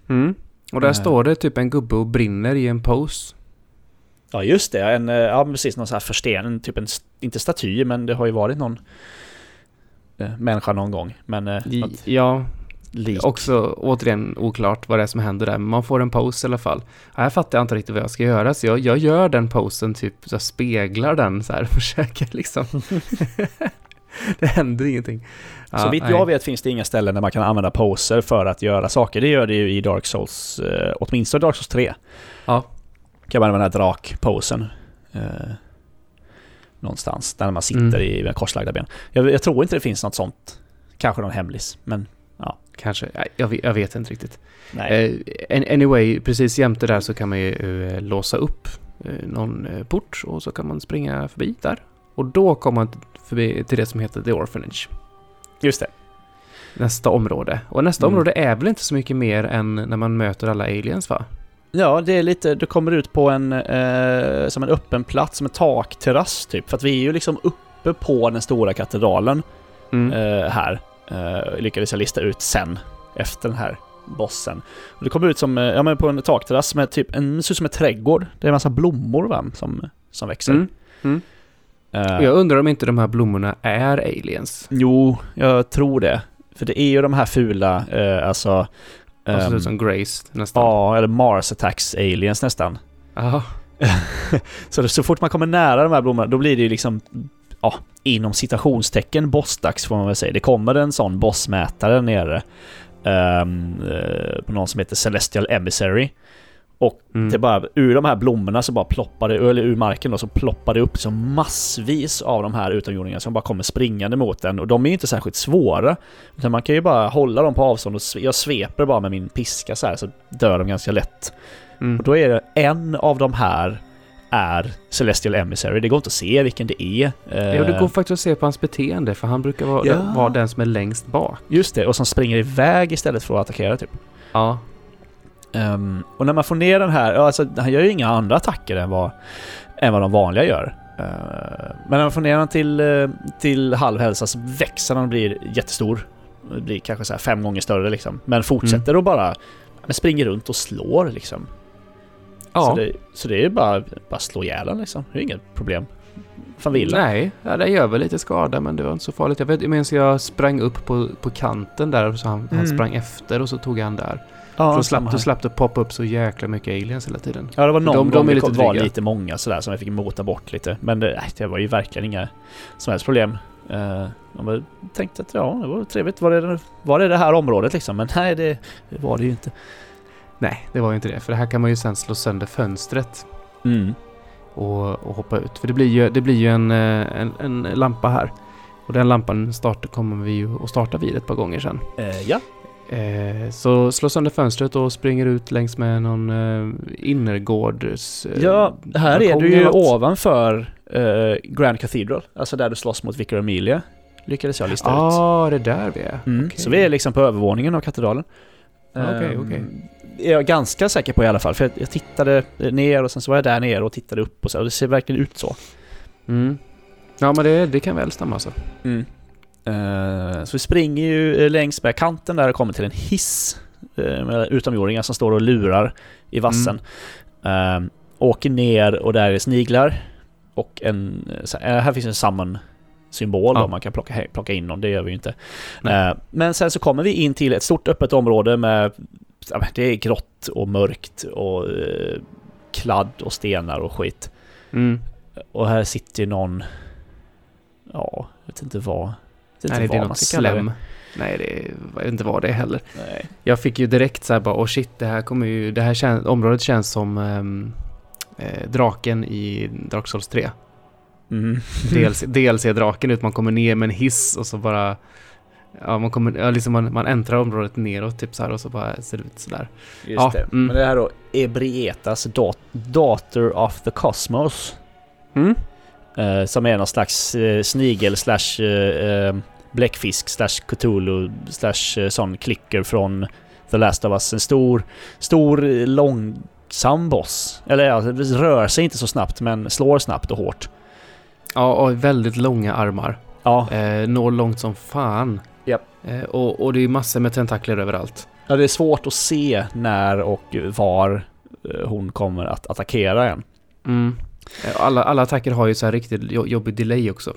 Speaker 2: Mm. Och där
Speaker 1: Eh.
Speaker 2: står det typ en gubbe och brinner i en pose.
Speaker 1: Ja just det, en, eh, ja men precis någon sån här försten, typ en, st- inte staty men det har ju varit någon eh, människa någon gång. Men eh,
Speaker 2: I,
Speaker 1: något
Speaker 2: ja,
Speaker 1: lik.
Speaker 2: också återigen oklart vad det är som händer där. Men man får en pose i alla fall. Ja, här fattar jag inte riktigt vad jag ska göra, så jag, jag gör den posen, typ så jag speglar den så här. Försöker liksom. det händer ingenting. Ja,
Speaker 1: så vitt
Speaker 2: Ah, nej.
Speaker 1: jag vet finns det inga ställen där man kan använda poser för att göra saker. Det gör det ju i Dark Souls, eh, åtminstone Dark Souls 3.
Speaker 2: Ja.
Speaker 1: Kan man använda drakposen. Eh, någonstans, där man sitter
Speaker 2: Mm.
Speaker 1: i med korslagda ben. Jag, jag tror inte det finns något sånt. Kanske någon hemlis, men
Speaker 2: Kanske. Nej, Jag vet, jag vet inte riktigt.
Speaker 1: nej.
Speaker 2: Eh, an- anyway, precis jämte där så kan man ju eh, låsa upp eh, någon eh, port och så kan man springa förbi där. Och då kommer man förbi till det som heter The Orphanage.
Speaker 1: Just det.
Speaker 2: Nästa område. Och nästa
Speaker 1: Mm.
Speaker 2: område är väl inte så mycket mer än när man möter alla aliens va?
Speaker 1: Ja, det är lite, du kommer ut på en, eh, som en öppen plats, som en takterrass typ. För att vi är ju liksom uppe på den stora katedralen.
Speaker 2: Eh,
Speaker 1: eh, här. Eh, lyckades jag lista ut sen, efter den här bossen. Och det kom ut som, eh, ja men på en takterrass med typ, en, det ser ut som en trädgård. Det är en massa blommor va, som, som växer.
Speaker 2: Mm.
Speaker 1: Eh,
Speaker 2: Och jag undrar om inte de här blommorna är aliens.
Speaker 1: Jo, jag tror det. För det är ju de här fula, eh, alltså...
Speaker 2: De ser
Speaker 1: ehm,
Speaker 2: ut som Grace nästan.
Speaker 1: Ja, eller Mars Attacks Aliens nästan.
Speaker 2: Aha.
Speaker 1: Så, det, så fort man kommer nära de här blommorna, då blir det ju liksom, ja, inom citationstecken bossdags får man väl säga. Det kommer en sån bossmätare nere ehm, eh, på någon som heter Celestial Emissary.
Speaker 2: Mm.
Speaker 1: Det bara, ur de här blommorna så bara ploppar det, eller ur marken då, så ploppar det upp så massvis av de här utomjordingarna som bara kommer springande mot den. Och de är ju inte särskilt svåra. Utan man kan ju bara hålla dem på avstånd och sve- jag sveper bara med min piska så här så dör de ganska lätt.
Speaker 2: Mm.
Speaker 1: Och då är det en av de här är Celestial Emissary. Det går inte att se vilken det är.
Speaker 2: Ja, det går
Speaker 1: Eh,
Speaker 2: faktiskt att se på hans beteende för han brukar vara,
Speaker 1: Ja.
Speaker 2: vara den som är längst bak.
Speaker 1: Just det, och som springer iväg istället för att attackera typ.
Speaker 2: Ja.
Speaker 1: Ehm, och när man får ner den här, ja, alltså han gör ju inga andra attacker än vad, än vad de vanliga gör. Ehm, men när man får ner den till, eh, till halv hälsa så växer den och blir jättestor. Det blir kanske så här fem
Speaker 2: Mm.
Speaker 1: gånger större liksom. Men fortsätter att bara, men springer runt och slår liksom. Så,
Speaker 2: Ja.
Speaker 1: det, så det är ju bara, bara slå ihjäl den liksom. Det är inget problem. Fan vill
Speaker 2: Nej, ja, det gör väl lite skada men det var inte så farligt. Jag, vet, jag minns jag sprang upp på, på kanten där och så han, han
Speaker 1: Mm.
Speaker 2: sprang efter och så tog han där.
Speaker 1: ja, samma
Speaker 2: så slapp, då
Speaker 1: här.
Speaker 2: slapp det poppa upp så jäkla mycket aliens hela tiden.
Speaker 1: Ja, det var någon
Speaker 2: de- de
Speaker 1: gång
Speaker 2: är
Speaker 1: det
Speaker 2: lite
Speaker 1: kom- var
Speaker 2: dryga.
Speaker 1: lite många sådär som jag fick mota bort lite. Men det, nej, det var ju verkligen inga som helst problem. Eh, Jag bara tänkte att ja, det var trevligt. Var det var det, det här området liksom? Men nej, det, det var det ju inte.
Speaker 2: Nej, det var ju inte det. För det här kan man ju sen slå sönder fönstret
Speaker 1: Mm.
Speaker 2: och, och hoppa ut. För det blir ju, det blir ju en, eh, en, en lampa här. Och den lampan start, kommer vi ju att starta vid ett par gånger sen.
Speaker 1: Eh, ja.
Speaker 2: Eh, så slå sönder fönstret och springer ut längs med någon eh, innergårds... eh,
Speaker 1: ja, här är
Speaker 2: balkong
Speaker 1: du ju
Speaker 2: eller något.
Speaker 1: ovanför eh, Grand Cathedral. Alltså där du slåss mot Vicar Emilia. Lyckades jag lista ut.
Speaker 2: Ja, ah, det är där vi är.
Speaker 1: Mm.
Speaker 2: Okej.
Speaker 1: Så vi är liksom på övervåningen av katedralen.
Speaker 2: Ja, okej,
Speaker 1: Ehm,
Speaker 2: okej.
Speaker 1: Är jag ganska säker på i alla fall, för jag, jag tittade ner och sen så var jag där nere och tittade upp och så, och det ser verkligen ut så.
Speaker 2: Mm. Ja, men det, det kan väl stämma alltså.
Speaker 1: Ehm, Mm. så vi springer ju eh, längs med kanten där och kommer till en hiss eh, med utomjordingar som står och lurar i vassen.
Speaker 2: Mm.
Speaker 1: Ehm, åker ner och där är sniglar och en... eh, så- eh, Här finns en summon symbol
Speaker 2: Ja.
Speaker 1: om man kan plocka, he- plocka in någon, det gör vi ju inte.
Speaker 2: Nej.
Speaker 1: Eh, Men sen så kommer vi in till ett stort öppet område med... ja, men Det är grått och mörkt och eh, kladd och stenar och skit.
Speaker 2: Mm.
Speaker 1: Och här sitter ju någon... Ja, jag vet inte vad... Jag vet
Speaker 2: Nej,
Speaker 1: inte
Speaker 2: det
Speaker 1: vad
Speaker 2: är
Speaker 1: man
Speaker 2: något
Speaker 1: ska kalla
Speaker 2: slem. Nej, det är, jag vet inte vad det är heller.
Speaker 1: det. Nej.
Speaker 2: Jag fick ju direkt så här bara, oh shit, det här kommer ju, det här kän, området känns som ehm, eh, draken i Dark Souls 3.
Speaker 1: Mm.
Speaker 2: Dels, dels är draken ut, man kommer ner med en hiss och så bara, ja man kommer, ja, liksom man, man äntrar området neråt typ så här och så bara ser det ut sådär.
Speaker 1: Just
Speaker 2: Ja,
Speaker 1: det.
Speaker 2: mm.
Speaker 1: Men det här då, Ebrietas dat- Daughter of the Cosmos.
Speaker 2: Mm.
Speaker 1: Eh, som är någon slags eh, snigel slash eh, eh, bläckfisk slash Cthulhu slash eh, sån klicker från The Last of Us. En stor, stor eh, långsam boss. Eller ja, det rör sig inte så snabbt men slår snabbt och hårt.
Speaker 2: Ja, och väldigt långa armar.
Speaker 1: Ja,
Speaker 2: Eh, når långt som fan.
Speaker 1: Japp.
Speaker 2: Eh, och, och det är ju massor med tentakler överallt.
Speaker 1: ja, det är svårt att se när och var eh, hon kommer att attackera en.
Speaker 2: Mm. Eh, Alla, alla attacker har ju så här riktigt jo- jobbig delay också.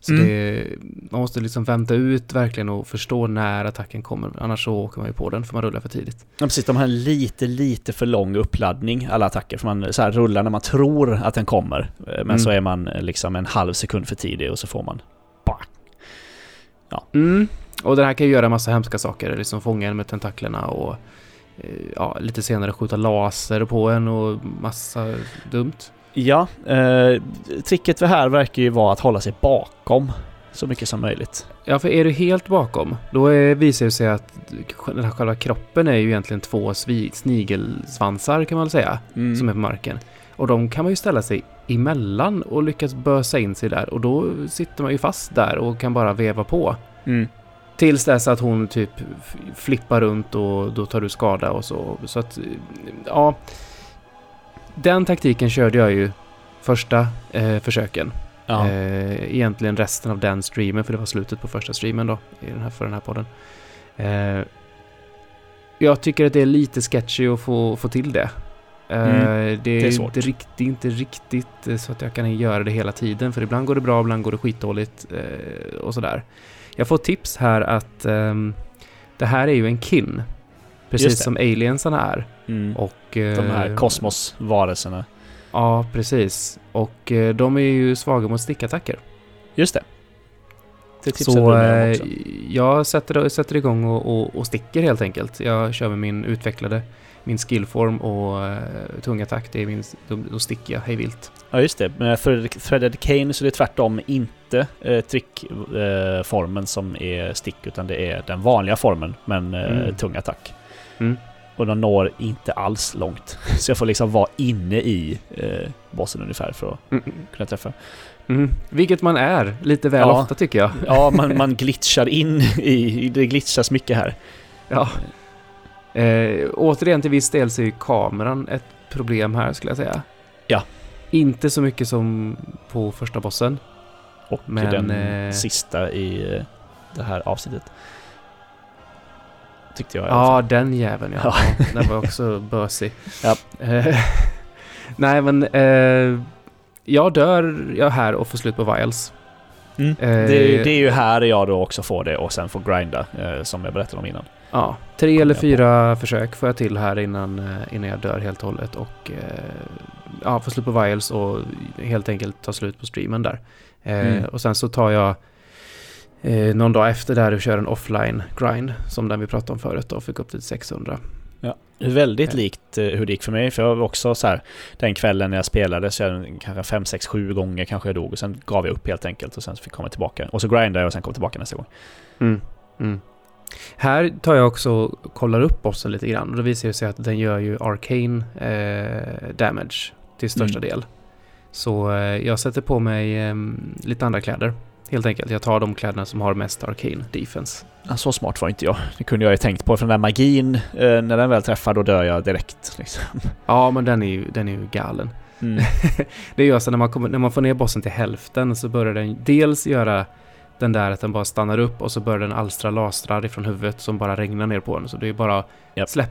Speaker 2: Så
Speaker 1: Mm.
Speaker 2: det, man måste liksom vänta ut verkligen och förstå när attacken kommer. Annars så åker man ju på den för man rullar för tidigt.
Speaker 1: Ja, precis, de har en lite, lite för lång uppladdning, alla attacker. För man så här rullar när man tror att den kommer. eh, Men
Speaker 2: Mm.
Speaker 1: så är man eh, liksom en halv sekund för tidig och så får man...
Speaker 2: Mm. Och den här kan ju göra massa hemska saker. Liksom fånga en med tentaklerna och eh, ja, lite senare skjuta laser på en och massa dumt.
Speaker 1: Ja, eh, tricket för här verkar ju vara att hålla sig bakom så mycket som möjligt.
Speaker 2: Ja, för är du helt bakom, då är, visar det sig att den här själva kroppen är ju egentligen två svi, snigelsvansar kan man väl säga,
Speaker 1: Mm.
Speaker 2: som är på marken. Och de kan man ju ställa sig emellan och lyckas bösa in sig där och då sitter man ju fast där och kan bara veva på.
Speaker 1: Mm.
Speaker 2: Tills dess att hon typ f- flippar runt och då tar du skada och så. Så att, eh, ja. Den taktiken körde jag ju första eh, försöken.
Speaker 1: Ja.
Speaker 2: Eh, egentligen resten av den streamen, för det var slutet på första streamen då, i den här, för den här podden. Eh, jag tycker att det är lite sketchy att få, få till det. Eh,
Speaker 1: Mm,
Speaker 2: det är,
Speaker 1: är
Speaker 2: ju
Speaker 1: svårt.
Speaker 2: Inte, rikt, det är inte riktigt eh, så att jag kan göra det hela tiden, för ibland går det bra, ibland går det skitdåligt eh, och sådär. Jag får tips här att ehm, det här är ju en kin,
Speaker 1: Just
Speaker 2: precis
Speaker 1: det.
Speaker 2: som aliensarna är.
Speaker 1: Mm.
Speaker 2: Och,
Speaker 1: De här
Speaker 2: eh,
Speaker 1: kosmosvarelserna.
Speaker 2: Ja, precis. Och eh, de är ju svaga mot stickattacker.
Speaker 1: Just det. Det tipsade
Speaker 2: Så
Speaker 1: du mig om
Speaker 2: eh,
Speaker 1: också.
Speaker 2: jag sätter, sätter igång och, och, och sticker helt enkelt. Jag kör med min utvecklade, min skillform och eh, tungattack. Det är min, då, då sticker jag hej vilt.
Speaker 1: Ja just det, med threaded- threaded cane så det är tvärtom inte eh, trickformen eh, formen som är stick utan det är den vanliga formen men eh,
Speaker 2: Mm.
Speaker 1: tung attack.
Speaker 2: Mm.
Speaker 1: Och de når inte alls långt. Så jag får liksom vara inne i eh, bossen ungefär för att kunna träffa.
Speaker 2: Mm. Vilket man är lite väl
Speaker 1: mm, Ja.
Speaker 2: ofta tycker jag.
Speaker 1: Ja, man, man glitchar in i... Det glitchas mycket här.
Speaker 2: Ja. Eh, återigen till viss del så är ju kameran ett problem här skulle jag säga.
Speaker 1: Ja.
Speaker 2: Inte så mycket som på första bossen.
Speaker 1: Och
Speaker 2: Men,
Speaker 1: den
Speaker 2: eh,
Speaker 1: sista i eh, det här avsnittet. Tyckte jag i alla fall.
Speaker 2: Ja, den jäveln ja.
Speaker 1: Ja.
Speaker 2: ja. Den var också bösig.
Speaker 1: Ja.
Speaker 2: Eh, Nej, men eh, jag dör jag här och får slut på vials.
Speaker 1: Mm.
Speaker 2: Eh,
Speaker 1: Det, är ju, det är ju här jag då också får det och sen får grinda, eh, som jag berättade om innan.
Speaker 2: Ja, tre eller
Speaker 1: jag
Speaker 2: fyra försök får jag till här innan, eh, innan jag dör helt och hållet och eh, ja, får slut på vials och helt enkelt tar slut på streamen där. Eh,
Speaker 1: Mm.
Speaker 2: Och sen så tar jag eh, någon dag efter där och kör en offline grind som den vi pratade om förut och fick upp till 600.
Speaker 1: Det är Väldigt
Speaker 2: Okej.
Speaker 1: likt eh, hur det gick för mig, för jag var också så här den kvällen när jag spelade så jag kanske 5, 6, 7 gånger kanske jag dog och sen gav jag upp helt enkelt och sen så fick jag komma tillbaka. Och så grindade jag och sen kom tillbaka nästa gång.
Speaker 2: Mm. Mm. Här tar jag också och kollar upp bossen lite grann och då visar det sig att den gör ju arcane eh, damage till största
Speaker 1: Mm.
Speaker 2: del. Så eh, jag sätter på mig eh, lite andra kläder helt enkelt. Jag tar de kläderna som har mest arcane defense.
Speaker 1: Ja, Så smart var inte jag. Det kunde jag ju tänkt på, för den där magin, eh, när den väl träffar då dör jag direkt. Liksom.
Speaker 2: Ja, men den är ju, den är ju galen.
Speaker 1: Mm.
Speaker 2: Det är ju alltså när man, kommer, när man får ner bossen till hälften så börjar den dels göra den där att den bara stannar upp och så börjar den alstra lasrar ifrån huvudet som bara regnar ner på den. Så det är bara
Speaker 1: Japp.
Speaker 2: släpp...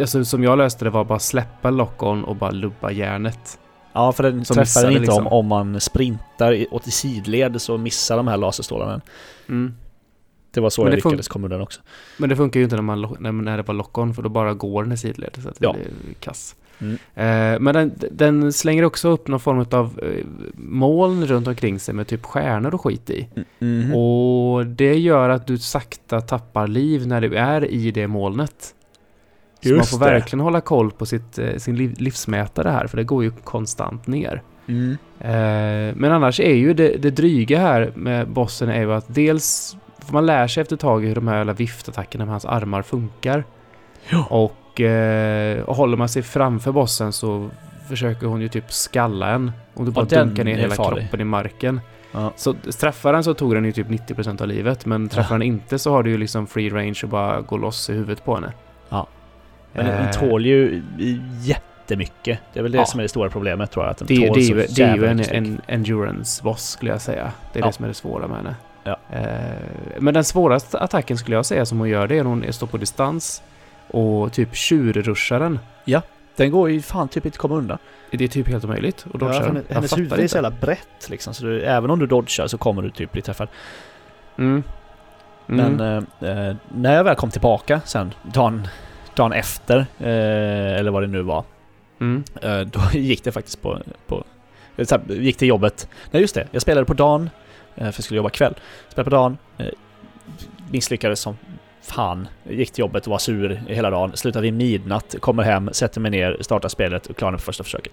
Speaker 2: Alltså, som jag löste det var bara släppa lock-on och bara lubba järnet.
Speaker 1: Ja, för den
Speaker 2: Som
Speaker 1: träffar
Speaker 2: missade
Speaker 1: den inte
Speaker 2: liksom.
Speaker 1: om, om man sprintar i- åt i sidled så missar de här laserstrålarna en. Det var så
Speaker 2: Men
Speaker 1: jag
Speaker 2: det fun-
Speaker 1: lyckades komma undan också.
Speaker 2: Mm. Men det funkar ju inte när, man, lo- när, när det var lock-on för då bara går den i sidled. Så att det
Speaker 1: Ja.
Speaker 2: blir kass.
Speaker 1: Mm.
Speaker 2: Eh, men den, den slänger också upp någon form av eh, moln runt omkring sig med typ stjärnor och skit i.
Speaker 1: Mhm.
Speaker 2: Och det gör att du sakta tappar liv när du är i det molnet. Så man
Speaker 1: Just
Speaker 2: får
Speaker 1: det.
Speaker 2: verkligen hålla koll på sitt, eh, sin liv, livsmätare här, för det går ju konstant ner.
Speaker 1: Mm.
Speaker 2: Eh, men annars är ju det, det dryga här med bossen är ju att dels för man lär sig efter ett tag hur de här jävla viftattackerna med hans armar funkar.
Speaker 1: Ja.
Speaker 2: Och, eh, och håller man sig framför bossen så försöker hon ju typ skalla en. Om du bara
Speaker 1: den
Speaker 2: dunkar ner
Speaker 1: är
Speaker 2: hela
Speaker 1: farlig.
Speaker 2: kroppen i marken.
Speaker 1: Ja.
Speaker 2: Så träffar den så tog den ju typ 90% av livet. Men träffar den inte så har du ju liksom free range och bara gå loss i huvudet på henne.
Speaker 1: Ja. Men den den
Speaker 2: Eh,
Speaker 1: tål ju jättemycket. Det är väl det
Speaker 2: Ja.
Speaker 1: som är det stora problemet tror jag. Att den
Speaker 2: Det, är ju-
Speaker 1: tål
Speaker 2: det, är
Speaker 1: så
Speaker 2: ju, det är ju
Speaker 1: jävla
Speaker 2: en,
Speaker 1: mycket stryk.
Speaker 2: en endurance-boss skulle jag säga. Det är
Speaker 1: Ja.
Speaker 2: det som är det svåra med henne.
Speaker 1: Ja.
Speaker 2: Eh, men den svåraste attacken skulle jag säga som hon gör det är när hon står på distans och typ tjurruschar den.
Speaker 1: Den går ju fan typ inte att komma undan.
Speaker 2: Det är typ helt omöjligt att dodga
Speaker 1: Ja,
Speaker 2: den.
Speaker 1: hennes
Speaker 2: Jag
Speaker 1: hennes
Speaker 2: fattar
Speaker 1: huvud är
Speaker 2: inte.
Speaker 1: så jävla brett liksom. Så du, även om du dodgar så kommer du typ bli träffad.
Speaker 2: Mm. Mm.
Speaker 1: Men eh, eh, när jag väl kom tillbaka sen, dagen, dagen efter, eh, eller vad det nu var,
Speaker 2: Mm.
Speaker 1: Eh, Då gick det faktiskt på... på eh, så här, gick till jobbet. Nej just det, jag spelade på dagen. eh, För jag skulle jobba kväll. Spelade på dagen. eh, Misslyckades som fan. Gick till jobbet och var sur hela dagen. Slutade vid midnatt. Kommer hem, sätter mig ner, startar spelet och klarar det på första försöket.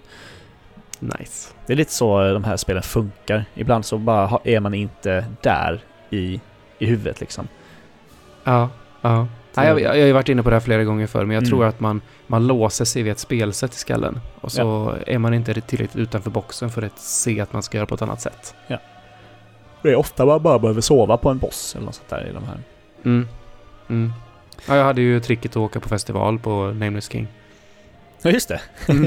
Speaker 1: eh,
Speaker 2: Nice.
Speaker 1: Det är lite så eh, de här spelen funkar. Ibland så bara ha- är man inte där i, i huvudet liksom.
Speaker 2: Ja, ja. Nej, jag, jag har ju varit inne på det här flera gånger förr, men jag
Speaker 1: Mm.
Speaker 2: tror att man, man låser sig vid ett spelsätt i skallen. Och så är man inte tillräckligt utanför boxen för att se att man ska göra på ett annat sätt.
Speaker 1: Det är ofta man bara behöver sova på en boss eller något sånt där i de här.
Speaker 2: Mm. Mm. Ja, jag hade ju tricket att åka på festival på Nameless King.
Speaker 1: Ja, just det.
Speaker 2: Mm.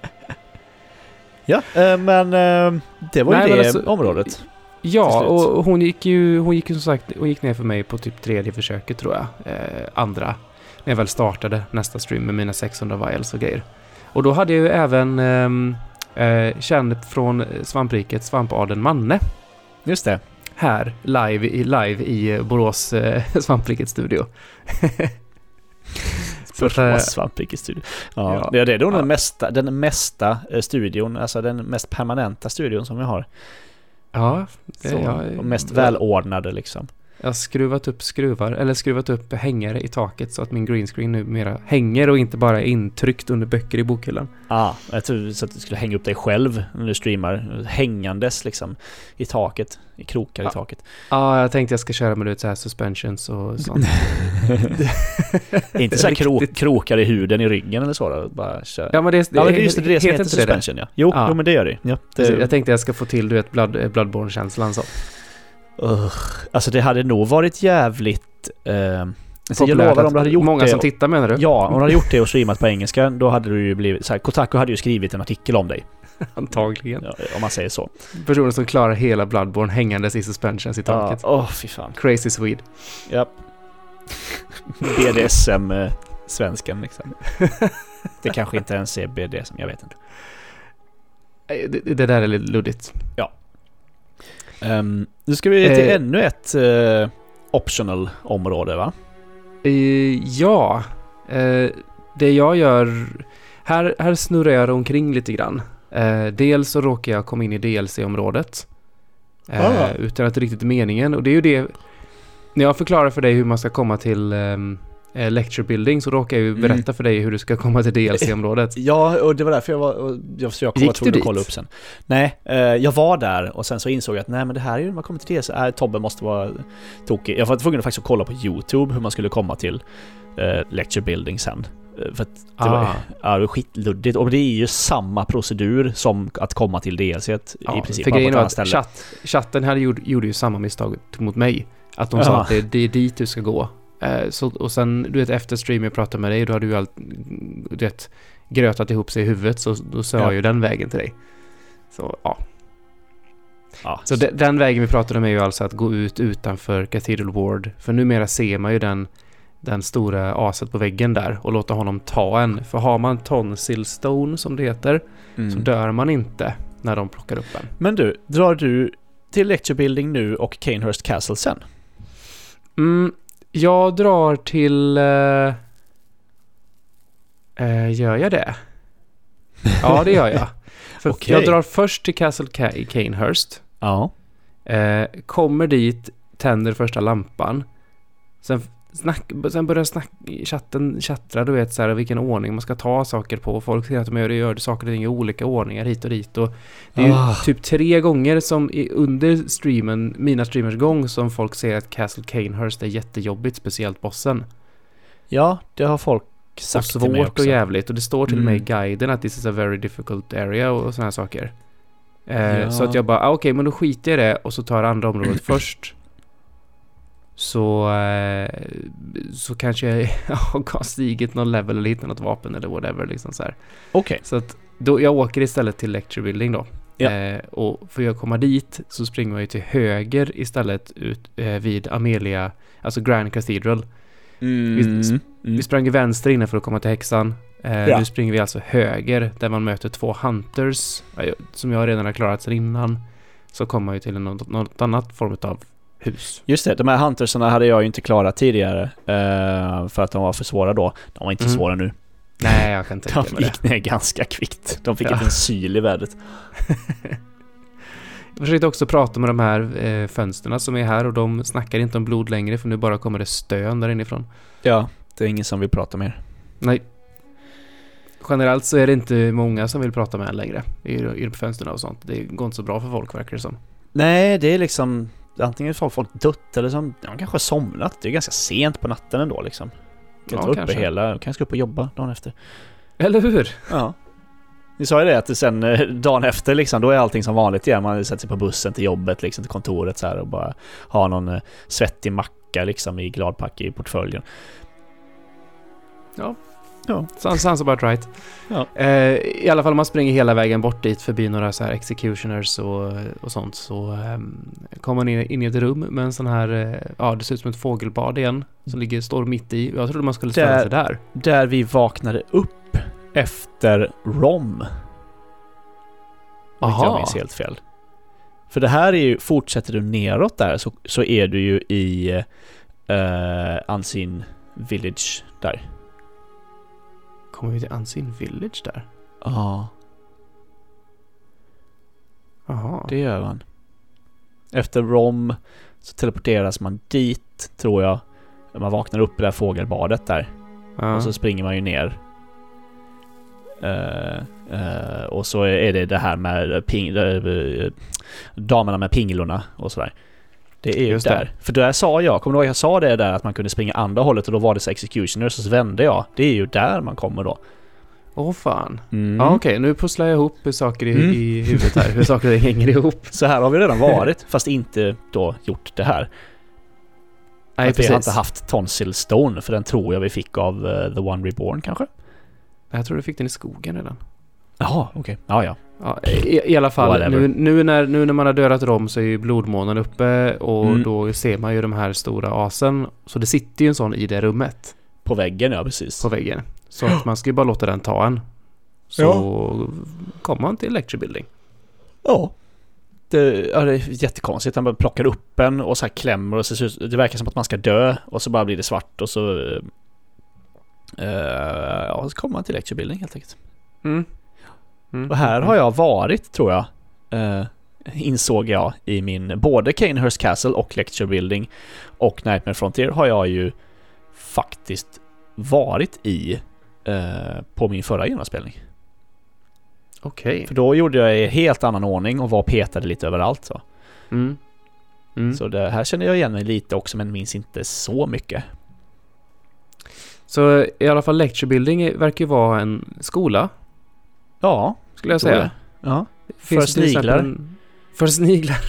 Speaker 1: ja, eh, men eh, det var
Speaker 2: Nej,
Speaker 1: ju
Speaker 2: men
Speaker 1: det
Speaker 2: alltså-
Speaker 1: området. Till
Speaker 2: Ja,
Speaker 1: slut.
Speaker 2: och hon gick ju, hon gick ju som sagt hon gick ner för mig på typ tredje försöket tror jag. Eh, andra. När jag väl startade nästa stream med mina 600 vials och grejer. Och då hade jag ju även ehm, eh, känd från svampriket, svampadeln Manne.
Speaker 1: Just det.
Speaker 2: Här, live i, live i Borås eh, svamprikets studio. Så att, eh,
Speaker 1: Första Svampvik i studion. Ja,
Speaker 2: Ja.
Speaker 1: ja, det är nog
Speaker 2: Ja.
Speaker 1: den, mesta, den mesta eh, studion, alltså den mest permanenta studion som vi har.
Speaker 2: ja, det,
Speaker 1: Så,
Speaker 2: jag-
Speaker 1: och mest välordnade liksom.
Speaker 2: Jag har skruvat upp skruvar, eller skruvat upp hängare i taket så att min greenscreen numera hänger och inte bara är intryckt under böcker i bokhyllan.
Speaker 1: Ah, jag trodde så att du skulle hänga upp dig själv när du streamar, hängandes liksom i taket, i krokar
Speaker 2: Ja.
Speaker 1: i taket.
Speaker 2: Ja, jag tänkte jag ska köra med du vet, så här suspensions och sånt.
Speaker 1: Inte så här kro,
Speaker 2: Riktigt.
Speaker 1: krokar i huden, i ryggen eller så då, bara kör.
Speaker 2: Ja, men det,
Speaker 1: Ja men det är just det, det är det som heter
Speaker 2: heter inte det
Speaker 1: suspension ja. Jo,
Speaker 2: Ja.
Speaker 1: jo men det gör det ju. ja, det
Speaker 2: Precis, Jag tänkte jag ska få till du vet blood, eh, Bloodborne-känslan så.
Speaker 1: Ugh. Alltså det hade nog varit jävligt... Eh, alltså jag
Speaker 2: Populärt
Speaker 1: lovar
Speaker 2: att-
Speaker 1: om du hade gjort
Speaker 2: Många
Speaker 1: det...
Speaker 2: som tittar menar du?
Speaker 1: Ja, om du hade gjort det och streamat på engelska, då hade du ju blivit... Så här, Kotaku hade ju skrivit en artikel om dig,
Speaker 2: Antagligen.
Speaker 1: ja, om man säger så.
Speaker 2: Personer som klarar hela Bloodborne hängandes i suspensions i
Speaker 1: Ja,
Speaker 2: taket.
Speaker 1: Åh, fy fan.
Speaker 2: Crazy Swede.
Speaker 1: Ja. BDSM... Eh, svensken liksom. Det kanske inte ens är BDSM, jag vet inte.
Speaker 2: Eh, Det, det där är lite luddigt.
Speaker 1: Ehm, nu ska vi till
Speaker 2: Eh.
Speaker 1: ännu ett eh, optional område va?
Speaker 2: Eh, ja, eh, det jag gör... Här, här snurrar jag omkring lite grann. Eh, dels så råkar jag komma in i DLC-området. Eh,
Speaker 1: Ah.
Speaker 2: Utan att det riktigt är meningen. Och det är ju det... När jag förklarar för dig hur man ska komma till ehm, eh, lecture building så råkar jag ju
Speaker 1: Mm.
Speaker 2: berätta för dig hur du ska komma till DLC-området.
Speaker 1: Ja, och det var därför jag var... och Jag, så jag kom
Speaker 2: Gick
Speaker 1: var tvungen
Speaker 2: du
Speaker 1: att kolla
Speaker 2: dit?
Speaker 1: upp sen. Nej, eh, jag var där och sen så insåg jag att nej men det här är ju... Man kommer till det så... Äh, Tobbe måste vara tokig. Jag var tvungen att faktiskt kolla på YouTube hur man skulle komma till eh, lecture building sen. Eh, För att det var,
Speaker 2: Ah.
Speaker 1: ja, det var skitluddigt. Och det är ju samma procedur som att komma till DLC i princip.
Speaker 2: för
Speaker 1: bara på
Speaker 2: grejen
Speaker 1: ett
Speaker 2: var
Speaker 1: annat
Speaker 2: att
Speaker 1: ställe.
Speaker 2: chatt, chatten här gjorde, gjorde ju samma misstag mot mig. Att de
Speaker 1: Ja.
Speaker 2: sa att det, det är dit du ska gå. Eh, så, och sen, du vet, efter stream jag pratade med dig, då hade du ju allt, du vet, grötat ihop sig i huvudet, så då sa
Speaker 1: Ja.
Speaker 2: jag ju den vägen till dig. Så, ja.
Speaker 1: Ja,
Speaker 2: Så de, den vägen vi pratade om är ju alltså att gå ut utanför Cathedral Ward, för numera ser man ju den, den stora aset på väggen där och låta honom ta en. För har man tonsil stone, som det heter,
Speaker 1: mm.
Speaker 2: så dör man inte när de plockar upp en.
Speaker 1: Men du, drar du till lecture building nu och Canehurst Castle sen?
Speaker 2: Mm, jag drar till... eh, eh, gör jag det? Ja, det gör jag. För
Speaker 1: Okej.
Speaker 2: Jag drar först till Castle Ca- Canehurst.
Speaker 1: Ja.
Speaker 2: Eh, kommer dit, tänder första lampan. Sen, snack, sen börjar snack, chatten tjattra, du vet så här, vilken ordning man ska ta saker på. Folk ser att de gör, det, gör saker och ting i olika ordningar hit och dit. Och det är ju
Speaker 1: Ah.
Speaker 2: typ tre gånger som i, under streamen, mina streamers gång, som folk ser att Castle Canehurst är jättejobbigt, speciellt bossen.
Speaker 1: Ja, det har folk
Speaker 2: Och
Speaker 1: sagt till mig
Speaker 2: svårt
Speaker 1: också.
Speaker 2: och jävligt. Och det står till och med i
Speaker 1: Mm.
Speaker 2: guiden att this is a very difficult area och, och sådana här saker. Eh,
Speaker 1: Ja.
Speaker 2: Så att jag bara, ah, okej, men då skiter jag i det och så tar jag andra området först. Så, eh, så kanske jag har stigit någon level eller hittat något vapen eller whatever liksom så här.
Speaker 1: Okej.
Speaker 2: Så att då, jag åker istället till lecture building då.
Speaker 1: Ja.
Speaker 2: Eh, och för att komma dit så springer jag ju till höger istället ut eh, vid Amelia, alltså Grand Cathedral.
Speaker 1: Mm. Visst-
Speaker 2: Vi
Speaker 1: visst-
Speaker 2: sprang ju vänster innan för att komma till häxan. Eh,
Speaker 1: Ja.
Speaker 2: Nu springer vi alltså höger där man möter två hunters eh, som jag redan har klarat sedan innan. Så kommer man ju till något, något annat form av hus.
Speaker 1: Just det, de här huntersarna hade jag ju inte klarat tidigare. eh, för att de var för svåra då. De var inte
Speaker 2: Mm.
Speaker 1: svåra nu.
Speaker 2: Nej, jag kan tänka
Speaker 1: De
Speaker 2: mig det.
Speaker 1: gick ner ganska kvickt. De fick
Speaker 2: Ja.
Speaker 1: inte en syl i värdet.
Speaker 2: Jag försökte också prata med de här eh, fönsterna som är här och de snackar inte om blod längre för nu bara kommer det stön där inifrån.
Speaker 1: Ja, det är ingen som vill prata mer.
Speaker 2: Nej. Generellt så är det inte många som vill prata med en längre i, i fönstren och sånt. Det går inte så bra för folk verkar det som.
Speaker 1: Nej, det är liksom... Antingen har folk dött eller som... De kanske har somnat. Det är ganska sent på natten ändå liksom. Kan inte vara uppe hela... Kanske ska upp och jobba dagen efter.
Speaker 2: Eller hur?
Speaker 1: Ja. Ni sa ju det att sen eh, dagen efter liksom, då är allting som vanligt igen. Man sätter sig på bussen till jobbet, liksom, till kontoret så här och bara har någon eh, svettig macka liksom i gladpack i portföljen.
Speaker 2: Sounds, sounds about right.
Speaker 1: Ja.
Speaker 2: Eh, I alla fall om man springer hela vägen bort dit förbi några så här executioners och, och sånt så ehm, kommer man in, in i ett rum med en sån här, eh, ja det ser ut som ett fågelbad igen som ligger, står mitt i. Jag trodde man skulle ställa sig där.
Speaker 1: Där vi vaknade upp efter Rom. Om inte jag
Speaker 2: Aha.
Speaker 1: minns helt fel. För det här är ju, fortsätter du neråt där så, så är du ju i eh, Unseen Village där.
Speaker 2: Kommer vi till Unseen Village där?
Speaker 1: Ja,
Speaker 2: Jaha.
Speaker 1: det gör man. Efter Rom så teleporteras man dit, tror jag. Man vaknar upp i det här fågelbadet där.
Speaker 2: ja.
Speaker 1: Och så springer man ju ner. Eh, eh, och så är det det här med ping, eh, damerna med pinglorna och sådär. Det är ju
Speaker 2: Just det.
Speaker 1: där. För där sa jag, kommer du ihåg jag sa det där att man kunde springa andra hållet och då var det så executioners och så vände jag. Det är ju där man kommer då.
Speaker 2: Åh fan.
Speaker 1: Mm.
Speaker 2: Ja okej, nu pusslar jag ihop hur saker i,
Speaker 1: Mm.
Speaker 2: i huvudet här, hur saker hänger ihop.
Speaker 1: Så här har vi redan varit, fast inte då gjort det här.
Speaker 2: Nej
Speaker 1: att vi har
Speaker 2: precis.
Speaker 1: inte haft Tonsil Stone, för den tror jag vi fick av eh, The One Reborn kanske?
Speaker 2: Jag tror du fick den i skogen redan.
Speaker 1: Jaha, okej. Ja, ja.
Speaker 2: Ja, i, I alla fall,
Speaker 1: Whatever.
Speaker 2: nu, nu, när, nu när man har dödat Rom så är ju blodmånen uppe och
Speaker 1: Mm.
Speaker 2: då ser man ju de här stora asen. Så det sitter ju en sån i det rummet.
Speaker 1: På väggen, ja precis.
Speaker 2: på väggen. Så att man ska ju bara låta den ta en. Så kommer man till lecture building.
Speaker 1: Ja. Det, ja, det är jättekonstigt. Han bara plockar upp en och så här klämmer och så ser ut- det verkar som att man ska dö och så bara blir det svart och så... eh, eh, ja, så kommer man till lecture building helt enkelt.
Speaker 2: Mm. Mm.
Speaker 1: Och här har jag varit, tror jag. Eh, insåg jag i min... Både Kanehurst Castle och Lecture Building och Nightmare Frontier har jag ju faktiskt varit i eh, på min förra genomspelning.
Speaker 2: Okej.
Speaker 1: För då gjorde jag i helt annan ordning och var petade lite överallt så.
Speaker 2: Mm. Mm. Så.
Speaker 1: Så det här känner jag igen mig lite också men minns inte så mycket.
Speaker 2: i alla fall lecture building verkar ju vara en skola.
Speaker 1: Ja,
Speaker 2: Skulle jag
Speaker 1: tror
Speaker 2: säga.
Speaker 1: det. Ja.
Speaker 2: Finns
Speaker 1: För
Speaker 2: det till exempel
Speaker 1: sniglar.
Speaker 2: en- För sniglar.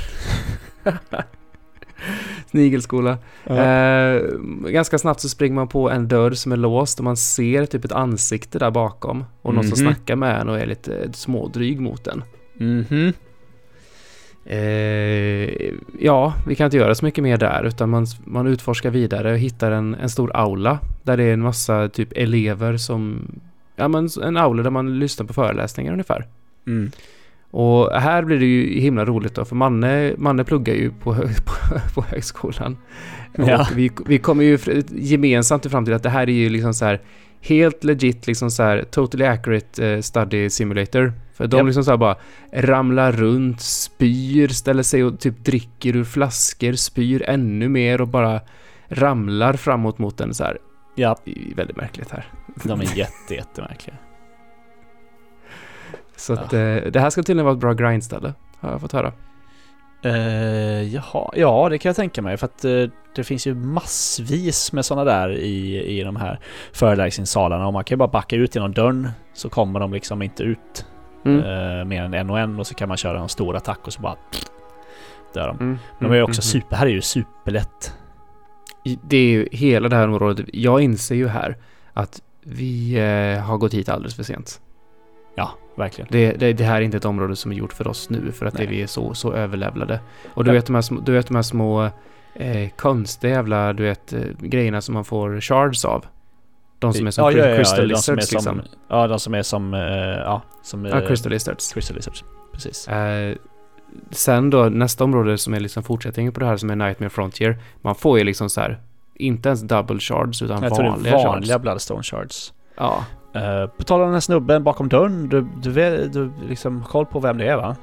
Speaker 2: Snigelskola. Eh, ganska snabbt så springer man på en dörr som är låst och man ser typ ett ansikte där bakom. Och någon som
Speaker 1: Mhm.
Speaker 2: snackar med en och är lite eh, smådryg mot en.
Speaker 1: Mhm.
Speaker 2: Eh, ja, vi kan inte göra så mycket mer där utan man, man utforskar vidare och hittar en, en stor aula där det är en massa typ elever som... Ja men en aula där man lyssnar på föreläsningar ungefär.
Speaker 1: Mm.
Speaker 2: Och här blir det ju himla roligt då för Manne, Manne pluggar ju på, hö, på, på högskolan.
Speaker 1: Ja.
Speaker 2: Och vi, vi kommer ju fr- gemensamt fram till att det här är ju liksom så här helt legit liksom så här totally accurate eh, study simulator. För de
Speaker 1: Japp.
Speaker 2: liksom så här bara ramlar runt, spyr, ställer sig och typ dricker ur flaskor, spyr ännu mer och bara ramlar framåt mot den så här.
Speaker 1: Ja,
Speaker 2: Det är väldigt märkligt här.
Speaker 1: de är jätte, jättemärkliga.
Speaker 2: Så att, eh, det här ska tydligen vara ett bra grindställe, har jag fått höra.
Speaker 1: Uh, jaha, ja det kan jag tänka mig för att eh, det finns ju massvis med sådana där i, i de här föreläsningssalarna och man kan ju bara backa ut genom dörren så kommer de liksom inte ut
Speaker 2: Mm.
Speaker 1: eh, mer än en och en och så kan man köra en stor attack och så bara dör de.
Speaker 2: Mm.
Speaker 1: De är ju
Speaker 2: Mm,
Speaker 1: också
Speaker 2: mm,
Speaker 1: super, här är ju superlätt.
Speaker 2: I- Det är ju hela det här området. Jag inser ju här att vi eh, har gått hit alldeles för sent.
Speaker 1: Ja, verkligen.
Speaker 2: Det, det, det här är inte ett område som är gjort för oss nu för att det,
Speaker 1: Nej.
Speaker 2: vi är så, så överlevlade. Och du
Speaker 1: Ja.
Speaker 2: vet de här små, du vet, de här små eh, konstiga jävla du vet, eh, grejerna som man får shards av. De som är som
Speaker 1: ja, ja, ja,
Speaker 2: crystal
Speaker 1: ja, de som är
Speaker 2: lizards
Speaker 1: som,
Speaker 2: liksom.
Speaker 1: Ja, de som är som... eh, ja, som...
Speaker 2: Ja,
Speaker 1: eh,
Speaker 2: crystal lizards.
Speaker 1: crystal lizards. Precis.
Speaker 2: Eh, sen då nästa område som är liksom fortsättningen på det här som är Nightmare Frontier. Man får ju liksom så här, inte ens double shards utan
Speaker 1: jag tror det
Speaker 2: vanliga,
Speaker 1: är vanliga
Speaker 2: shards.
Speaker 1: Bloodstone shards.
Speaker 2: Ja.
Speaker 1: Uh, på tal om den här snubben bakom dörren, du, du, vet, du liksom har koll på vem det är va?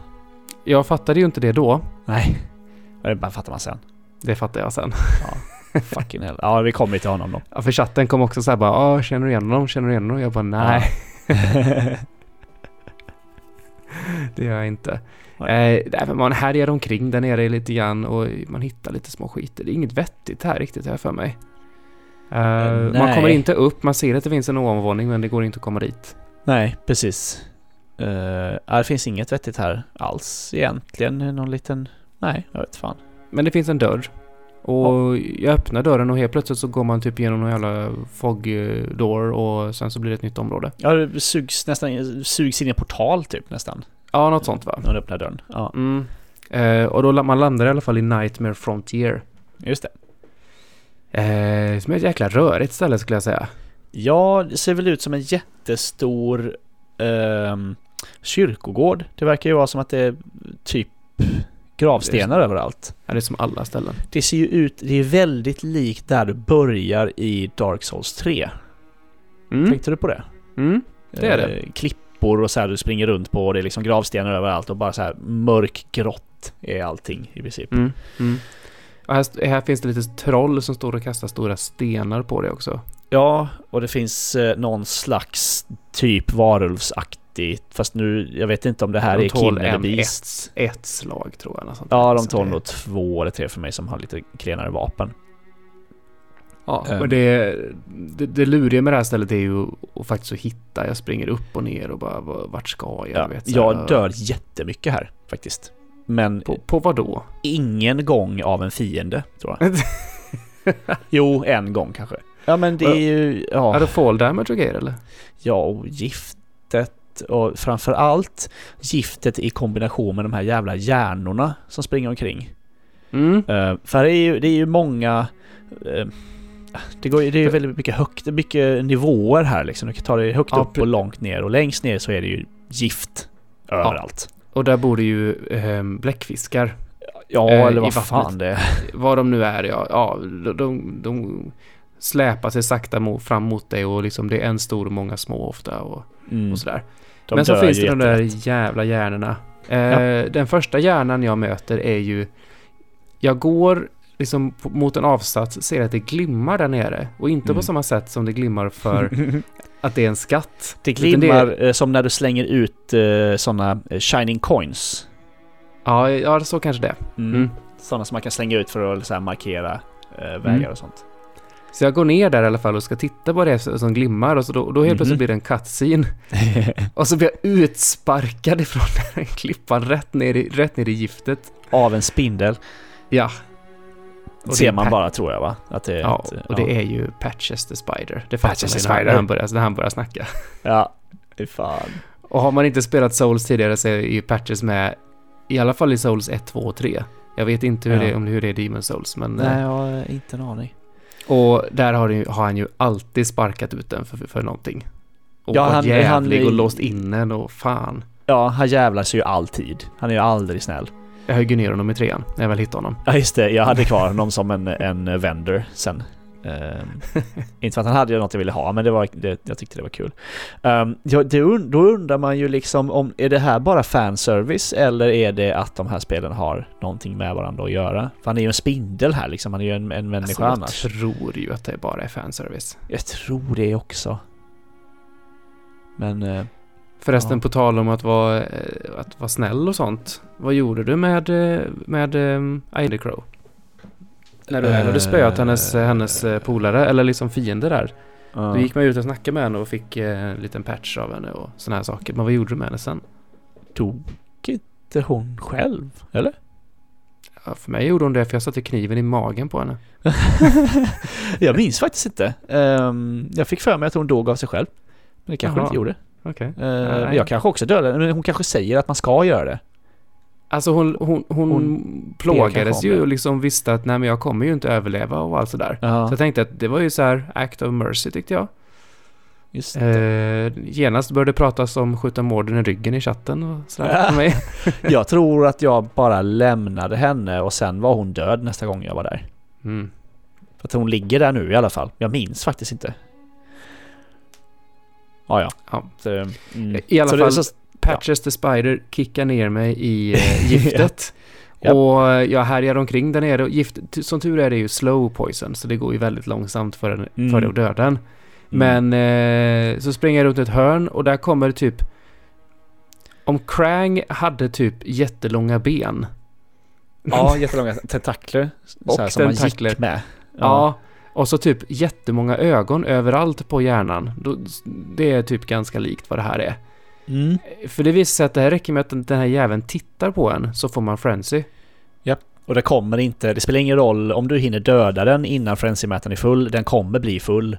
Speaker 2: Jag fattade ju inte det då.
Speaker 1: Nej. Ja, Det bara fattar man sen.
Speaker 2: Det fattar jag sen.
Speaker 1: Fucking hell. Ja, vi kommer ju till honom då.
Speaker 2: Ja, för chatten kom också så här bara "Ah, “Känner du igen honom? Känner du igen honom?” Jag bara “Nej, det gör jag inte”. Eh, nej, men man härjar omkring där nere lite grann och man hittar lite små skiter. Det är inget vettigt här riktigt, har jag för mig. Eh, man
Speaker 1: nej.
Speaker 2: kommer inte upp, man ser att det finns en ovanvåning men det går inte att komma dit.
Speaker 1: Nej, precis. Eh, ja, det finns inget vettigt här alls egentligen. Någon liten... Nej, jag vet fan.
Speaker 2: Men det finns en dörr. Och jag öppnar dörren och helt plötsligt så går man typ genom någon jävla fog eh, door och sen så blir det ett nytt område.
Speaker 1: Ja, det sugs nästan... Sugs in i en portal typ nästan.
Speaker 2: Ja, något sånt va?
Speaker 1: När du öppnar dörren. Ja,
Speaker 2: Mm. Eh, och då la- man landar i alla fall i Nightmare Frontier.
Speaker 1: just det.
Speaker 2: Eh, som är ett jäkla rörigt ställe skulle jag säga.
Speaker 1: Ja, det ser väl ut som en jättestor ehm, kyrkogård. Det verkar ju vara som att det är typ gravstenar överallt.
Speaker 2: Ja, det är som alla ställen.
Speaker 1: Det ser ju ut, det är väldigt likt där du börjar i Dark Souls 3.
Speaker 2: Mm.
Speaker 1: Tänkte du på det?
Speaker 2: Mm. Det är det.
Speaker 1: Eh, klippor och så här du springer runt på och det är liksom gravstenar överallt och bara så här mörkgrått är allting i princip.
Speaker 2: Mm. Mm. Och här, st- här finns det lite troll som står och kastar stora stenar på det också.
Speaker 1: Ja, och det finns eh, någon slags typ varulvsaktigt, fast nu, jag vet inte om det här
Speaker 2: De
Speaker 1: är
Speaker 2: tål
Speaker 1: Kin eller
Speaker 2: en-
Speaker 1: Beast.
Speaker 2: Ett slag tror jag. något sånt
Speaker 1: Ja,
Speaker 2: där.
Speaker 1: de
Speaker 2: Så
Speaker 1: tål
Speaker 2: det-
Speaker 1: nog två eller tre för mig som har lite klenare vapen.
Speaker 2: Ja,
Speaker 1: Ehm.
Speaker 2: och det, det, det luriga med det här stället är ju att faktiskt att hitta. Jag springer upp och ner och bara "Vad- vart ska jag?
Speaker 1: Jag,
Speaker 2: vet, så här,
Speaker 1: jag dör jättemycket här faktiskt. Men
Speaker 2: På, på vad då?
Speaker 1: ingen gång av en fiende, tror jag. jo, en gång kanske. Ja, men det är ju...
Speaker 2: Är
Speaker 1: Ja,
Speaker 2: det fall damage och grejer eller?
Speaker 1: ja och giftet och framförallt giftet i kombination med de här jävla hjärnorna som springer omkring.
Speaker 2: Mm.
Speaker 1: Eh, för det är, ju, det är ju många eh, Det, går, ju- det är ju väldigt mycket högt, mycket nivåer här liksom. Du kan ta det högt
Speaker 2: Ja,
Speaker 1: upp
Speaker 2: pre-
Speaker 1: och långt ner och längst ner så är det ju gift överallt.
Speaker 2: Och där bor det ju eh, bläckfiskar.
Speaker 1: Ja,
Speaker 2: Eh,
Speaker 1: eller
Speaker 2: i
Speaker 1: vad
Speaker 2: vattnet.
Speaker 1: fan det är.
Speaker 2: Vad de nu är, ja. ja de, de, de släpar sig sakta mo, fram mot dig och liksom det är en stor och många små ofta och,
Speaker 1: Mm.
Speaker 2: och sådär.
Speaker 1: De
Speaker 2: Men så
Speaker 1: dör
Speaker 2: finns
Speaker 1: ju
Speaker 2: det de
Speaker 1: jättelätt.
Speaker 2: där jävla hjärnorna. Eh, Den första hjärnan jag möter är ju... Jag går liksom på- mot en avsats, ser att det glimmar där nere. Och inte
Speaker 1: Mm.
Speaker 2: på samma sätt som det glimmar för att det är en skatt.
Speaker 1: Det
Speaker 2: Utan
Speaker 1: glimmar eh, som när du slänger ut eh, sådana eh, shining coins.
Speaker 2: Ja, ja, så kanske det.
Speaker 1: Mm.
Speaker 2: Mm.
Speaker 1: Sådana som man kan slänga ut för att så här, markera eh, vägar
Speaker 2: Mm.
Speaker 1: och sånt.
Speaker 2: Så jag går ner där i alla fall och ska titta på det som glimmar och så då, då helt
Speaker 1: Mhm.
Speaker 2: plötsligt blir det en cutscene. Och så blir jag utsparkad ifrån den här klippan rätt ner i, rätt ner i giftet.
Speaker 1: Av en spindel.
Speaker 2: Ja. Och det
Speaker 1: ser
Speaker 2: är
Speaker 1: man
Speaker 2: Pat-
Speaker 1: bara tror jag va? Att det är
Speaker 2: Ja,
Speaker 1: ett,
Speaker 2: och det är ju Patches the Spider. Det
Speaker 1: Patches
Speaker 2: fattar man
Speaker 1: the Spider.
Speaker 2: när han- när han börjar, när han börjar snacka.
Speaker 1: Ja, fy fan.
Speaker 2: Och har man inte spelat Souls tidigare så är ju Patches med i alla fall i Souls 1, 2 och 3. Jag vet inte hur,
Speaker 1: Ja.
Speaker 2: det, om hur det är i Demon Souls, men... eh,
Speaker 1: jag har inte en aning.
Speaker 2: Och där har, det, ju- har han ju alltid sparkat ut den för, för någonting. Och
Speaker 1: Ja,
Speaker 2: ja,
Speaker 1: han-
Speaker 2: han, jävlig
Speaker 1: han-
Speaker 2: och låst in den och fan.
Speaker 1: Ja, han jävlar sig ju alltid. Han är ju aldrig snäll.
Speaker 2: Jag högg ju ner honom i trean när jag väl hittade honom.
Speaker 1: Ja just det, jag hade kvar honom som en, en vendor sen. Ehm, inte för att han hade något jag ville ha, men det var, det, jag tyckte det var kul. Ehm, ja, det, und- då undrar man ju liksom om, är det här bara fanservice eller är det att de här spelen har någonting med varandra att göra? För han är ju en spindel här liksom, han är alltså. ju en, en människa
Speaker 2: jag
Speaker 1: annars.
Speaker 2: tror ju att det bara är fanservice.
Speaker 1: jag tror det också. Men... eh,
Speaker 2: Förresten,
Speaker 1: Ja.
Speaker 2: på tal om att vara, eh, att vara snäll och sånt. Vad gjorde du med, eh, med um, Ida Crow? När du, när du spöat
Speaker 1: Eh,
Speaker 2: hennes, hennes eh, polare, eller liksom fiende där.
Speaker 1: ja.
Speaker 2: Då gick man ut och snackade med henne och fick eh, en liten patch av henne och såna här saker. Men vad gjorde du med henne sen?
Speaker 1: Dog inte hon själv, eller?
Speaker 2: Ja, för mig gjorde hon det för jag satte kniven i magen på henne.
Speaker 1: jag minns faktiskt inte. Ehm, jag fick för mig att hon dog av sig själv. Men det kanske hon
Speaker 2: Jaha.
Speaker 1: inte gjorde.
Speaker 2: Okej.
Speaker 1: Ehm, men
Speaker 2: Nej.
Speaker 1: jag kanske också dödade henne, men hon kanske säger att man ska göra det.
Speaker 2: Alltså hon, hon, hon, plågades
Speaker 1: kanske
Speaker 2: ju
Speaker 1: om det.
Speaker 2: och liksom visste att nej men jag kommer ju inte överleva och allt sådär. Så
Speaker 1: Ja,
Speaker 2: jag tänkte att det var ju så här act of mercy tyckte jag.
Speaker 1: just det.
Speaker 2: Eh, genast började pratas om skjuta morden i ryggen i chatten och sådär. för mig.
Speaker 1: jag tror att jag bara lämnade henne och sen var hon död nästa gång jag var där.
Speaker 2: Mm.
Speaker 1: För att hon ligger där nu i alla fall. Jag minns faktiskt inte. Ja, ja.
Speaker 2: Ja.
Speaker 1: Så, mm.
Speaker 2: I alla
Speaker 1: så det är
Speaker 2: fall,
Speaker 1: så-
Speaker 2: Patches the Spider kickar ner mig i eh, giftet.
Speaker 1: Japp.
Speaker 2: Och eh, jag härjar omkring där nere. Och Gift, t- som tur är det ju slow poison, så det går ju väldigt långsamt för, den,
Speaker 1: Mm.
Speaker 2: för det att döda den.
Speaker 1: mm.
Speaker 2: Men eh, så springer jag runt ett hörn och där kommer typ... Om Krang hade typ jättelånga ben.
Speaker 1: Ja, jättelånga tentakler. Så här,
Speaker 2: Och
Speaker 1: som man
Speaker 2: tentakler.
Speaker 1: gick med.
Speaker 2: Ja. Och så typ jättemånga ögon överallt på hjärnan. Då, det är typ ganska likt vad det här är.
Speaker 1: Mm.
Speaker 2: För det visar sig att det här räcker med att den här jäveln tittar på en så får man frenzy.
Speaker 1: Och det kommer inte, det spelar ingen roll om du hinner döda den innan frenzymätaren är full, den kommer bli full.